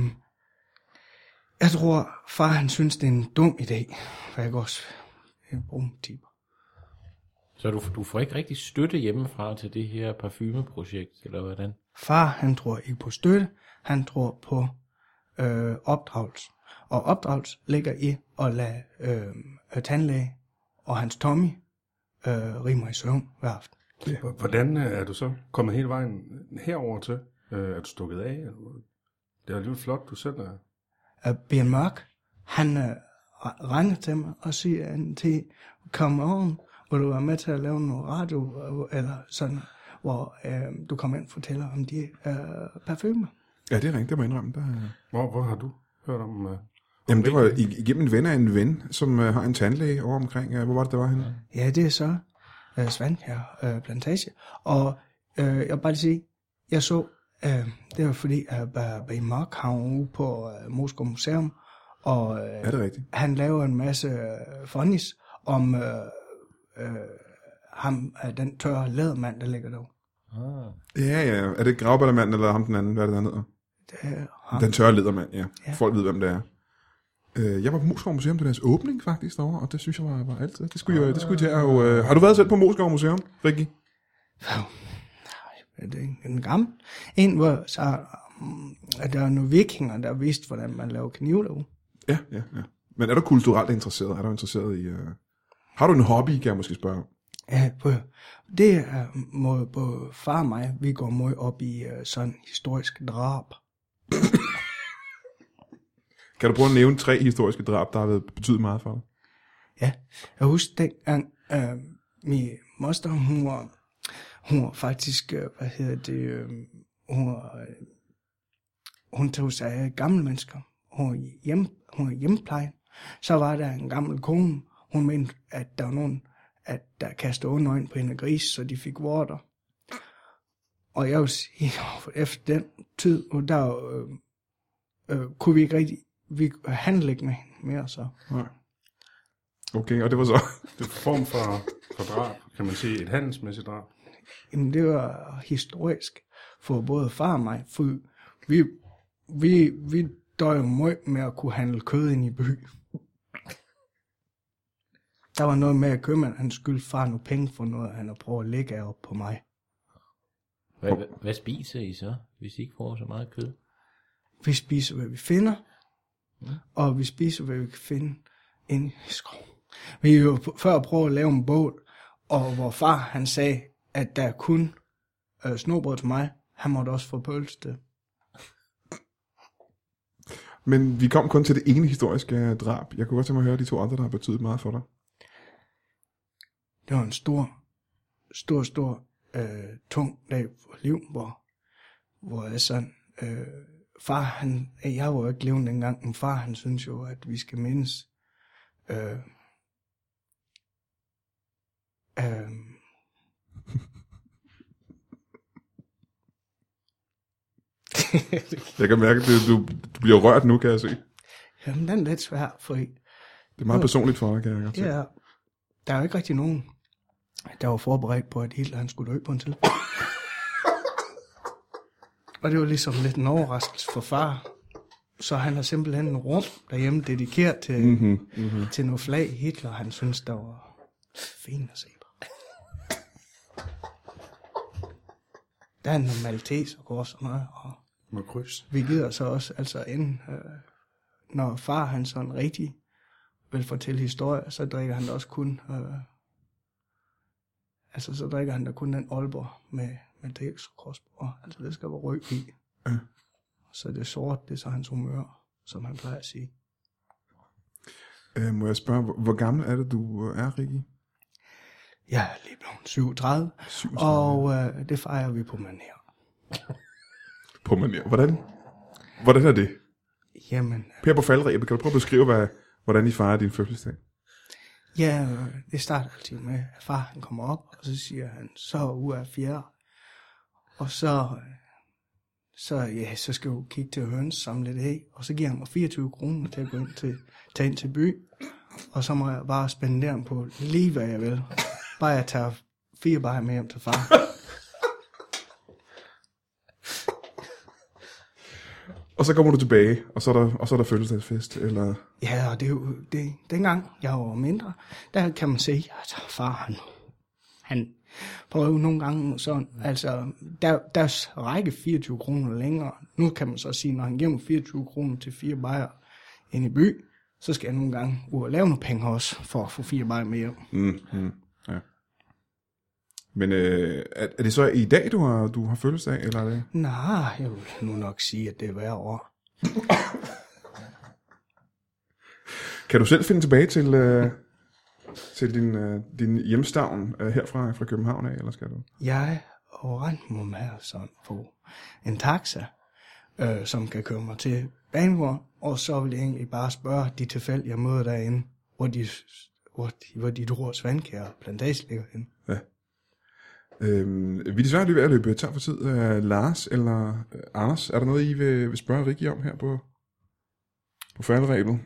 jeg tror, far han synes, det er en dum idé. For jeg går også øh, bruge en timer. Så du, du får ikke rigtig støtte hjemmefra til det her parfumeprojekt, eller hvordan? Far, han tror ikke på støtte, han tror på øh, opdragelse. Og opdragelse ligger i at lade øh, øh, tandlæge og hans Tommy øh, rige mig i søvn hver aften. Hvordan øh, er du så kommet hele vejen herover til? Øh, er du stukket af? Det er alligevel flot, du selv er. øh, Bjørn Mørk, han øh, ringer til mig og siger, at til kom oven, hvor du var med til at lave noget radio, øh, eller sådan, hvor øh, du kommer ind og fortæller om de øh, parfumer. Ja, det er rigtigt, det må jeg indrømme. Der, er- Hvor, hvor har du hørt om... Øh, Jamen, det var ig- igennem en ven af en ven, som øh, har en tandlæge over omkring. Øh, hvor var det, der var henne? Ja, det er så øh, Svandkær øh, Plantage. Og øh, jeg vil bare lige sige, jeg så, øh, det var fordi, at Bjørn Mørk har ude på øh, Moskva Museum, og øh, Er det rigtigt? han laver en masse øh, funnies om øh, øh, ham, øh, den tørre lædermand, der ligger der. Ja, ja. Er det gravballermanden eller ham den anden? Hvad er det, der hedder? Det er ham. Den tørre ledermand, ja. Ja. Folk ved, hvem det er. Øh, jeg var på Moskov Museum til deres åbning faktisk derovre, og det synes jeg var, var altid. Det skulle, jeg, det skulle I til at jo... Øh, har du været selv på Moskov Museum, Rikki? Er det en- en gammel. En, hvor så, mm, at der er nogle vikinger, der vidste, hvordan man laver knive derude. Ja, ja, ja. Men er du kulturelt interesseret? Er du interesseret i... Øh... Har du en hobby, kan jeg måske spørge om? Ja, på, det er måde på far og mig, vi går mod op i øh, sådan historisk drab. Kan du prøve at nævne tre historiske drab, der har været betydet meget for dig? Ja, jeg husker dengang, øh, min moster, hun var, hun var faktisk, øh, hvad hedder det, øh, hun, var, øh, hun tog sig af gamle mennesker. Hun var, hjem, hun var hjemmepleje. Så var der en gammel kone, hun mente, at der var nogen, at der kastede underøjne på hende af gris, så de fik vorter. Og jeg vil sige, efter den tid, og der øh, øh, kunne vi ikke rigtig, vi handle ikke med hende mere så. Nej. Okay, og det var så... det er en form for, for drab, kan man sige. Et handelsmæssigt drab. Jamen, det var historisk for både far og mig, for vi, vi, vi døde jo meget med at kunne handle kød ind i by. Der var noget med, at købmanden han skyldte far nogle penge for noget, han har prøvet at lægge af op på mig. Hvad, hvad, hvad spiser I så, hvis I ikke får så meget kød? Vi spiser, hvad vi finder, og vi spiser, hvad vi kan finde inde i skoven. Vi har jo p- før prøvet at lave en bål, og hvor far han sagde, at der er kun øh, snobrød til mig, han måtte også få pølse til. Men vi kom kun til det ene historiske øh, drab. Jeg kunne godt tænke mig at høre de to andre, der har betydet meget for dig. Det var en stor, stor, stor, øh, tung dag for liv, hvor, hvor jeg sådan, øh, far han, øh, jeg var jo ikke levende dengang, men far han synes jo, at vi skal mindes, øh, øh, Jeg kan mærke, at det- du, du bliver rørt nu, kan jeg se. jamen den er lidt svær, for det Det er meget personligt for dig, kan jeg godt se. er, der er jo ikke rigtig nogen, der var forberedt på, at Hitler han skulle dø på en tid. Og det var ligesom lidt en overraskelse for far. Så han har simpelthen en rum derhjemme dedikeret til, mm-hmm, mm-hmm. til nogle flag Hitler, han synes, der var fint at se på. Der er en normalitet, der går sådan noget, og Med kryds. vi gider så også, altså inden, øh, når far han sådan rigtig vil fortælle historier, så drikker han da også kun, øh, altså så drikker han da kun den Aalborg med, med dels og korsbord. Altså det skal være røg i. Så det er sort, det er så hans humør, som han plejer at sige. Øh, må jeg spørge, hvor, hvor gammel er det, du øh, er, Rikki? Jeg er lige blevet 37, 37. og øh, det fejrer vi på mand her. På manér. Hvordan? Hvordan er det? Jamen, Per på faldrebet, kan du prøve at beskrive, hvad, hvordan I fejrer din fødselsdag? Ja, øh, det starter altid med, at far han kommer op, og så siger han, så er uge af fjerde. Og så, øh, så, ja, så skal du kigge til høns, samle lidt af, og så giver han mig 24 kroner til at gå ind til, tage ind til by. Og så må jeg bare spendere ham på lige hvad jeg vil. Bare jeg tager fire bajer med hjem til far. Og så kommer du tilbage, og så er der, og så er der fødselsdagsfest, eller... Ja, og det er jo, det, dengang jeg var mindre, der kan man se, at far han, han prøver nogle gange sådan, altså, der, der række 24 kroner længere. Nu kan man så sige, når han giver mig 24 kroner til fire bajer ind i by, så skal jeg nogle gange ud og lave nogle penge også, for at få fire bajer med hjem. Mm, mm, ja. Men øh, er, er det så i dag, du har, du har fødselsdag, eller er det? Nej, jeg vil nu nok sige, at det er hver år. Kan du selv finde tilbage til, øh, til din, øh, din hjemstavn øh, herfra fra København af, eller skal du? Jeg overrendt mig med sådan på en taxa, øh, som kan køre mig til Banegård, og så vil jeg egentlig bare spørge de tilfælde, jeg møder derinde, hvor de, hvor de, hvor de dror Svandkær Plantage ligger henne. Øhm, vi er desværre løbet af at løbe tør for tid. Øh, Lars eller øh, Anders, er der noget, I vil, vil spørge Rikki om her på, på færderebet?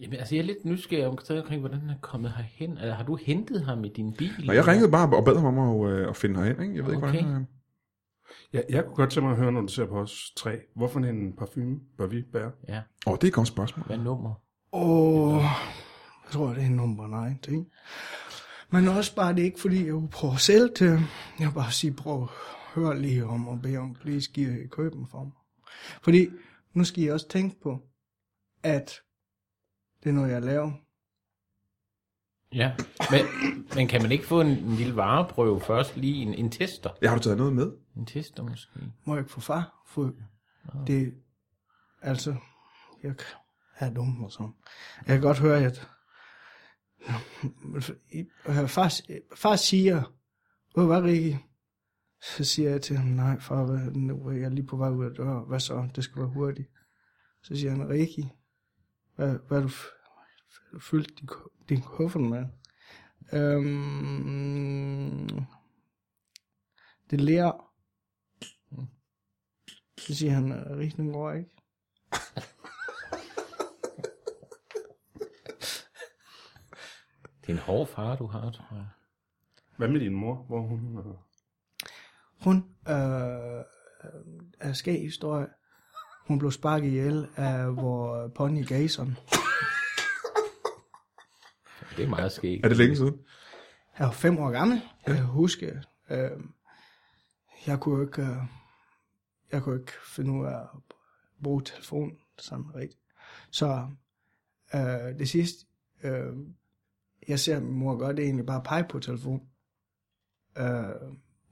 Jamen, altså, jeg er lidt nysgerrig omkring, omkring hvordan han er kommet herhen. Altså, har du hentet ham i din bil? Nå, jeg ringede bare og bad ham om at, øh, at finde herind, ikke? Jeg ved ikke, Okay. hvordan... Øh, Jeg, jeg kunne godt tænke mig at høre, når du ser på os tre, hvorfor en parfume bør vi bære? Ja, Åh, oh, det er et godt spørgsmål. hvad nummer? Åh, jeg tror, det er nummer 9, ikke? Men også bare det er ikke, fordi jeg vil prøve selv til. Jeg vil bare sige, prøv at høre lige om og bede om, please give købe dem for mig. Fordi nu skal I også tænke på, at det er noget, jeg laver. Ja, men, men kan man ikke få en, en lille vareprøve først? Lige en, en tester? Ja, har du taget noget med? En tester måske? Må jeg ikke få far? For det, altså, jeg kan- jeg er dum og sådan. Jeg kan godt høre, at I- øh, far, far siger, hvor var Rikke? Så siger jeg til ham, nej far, hvad, nu er jeg lige på vej ud af døren. Hvad så? Det skal være hurtigt. Så siger han, Rikke, hvad, hvad har du, f- hvad har du fyldt din, ku- din kuffert med? Øhm, det er lærer. Så siger han, at Rikken går ikke. Det er en hård far, du har, tror jeg. Hvad med din mor? Hvor er hun øh, Hun øh, er skæg historie. Hun blev sparket ihjel af vores pony Gason. Det er meget skægt. Er det længe siden? Jeg var fem år gammel. Jeg kan huske, øh, jeg kunne jo ikke, øh, jeg kunne ikke finde ud af at bruge telefonen sådan rigtigt. Så øh, det sidste, øh, jeg ser min mor gøre, det er egentlig bare at pege på telefonen. Øh,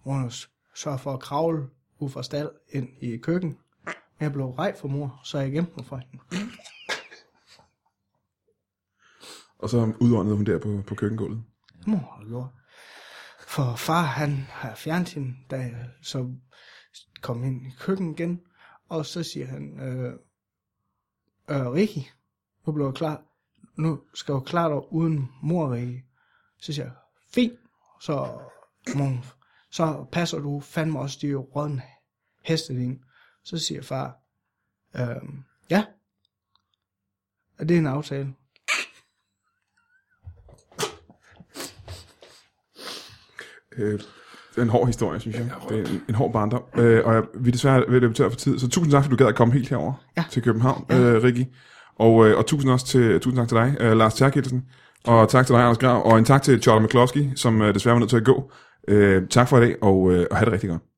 hvor hun s- sørger for at kravle ud fra stald ind i køkken. Men jeg blev rej for mor, så jeg gemte mig for hende. Og så udåndede hun der på, på køkkengulvet. mor og lort. For far, han har fjernet hende, da jeg så kom ind i køkkenet igen. Og så siger han, øh, øh, Rikki, nu bliver jeg klar. Nu skal jeg klare dig uden mor, Rikki. Så siger jeg, fint. Så, mor, så passer du fandme også de rådne heste dine. Så siger far, øh, ja, er det en aftale? Øh, det er en hård historie, synes jeg. Det er en, en hård barndom. Øh, og jeg, vi er desværre ved at løbe tør for tid. Så tusind tak, fordi du gad at komme helt herover Ja. til København, ja. øh, Rikki. Og, øh, og tusind, også til, tusind tak til dig, øh, Lars Terkelsen. Og tak til dig, Anders Grav. Og en tak til Charlotte McCloskey, som øh, desværre var nødt til at gå. Øh, tak for i dag, og, øh, og have det rigtig godt.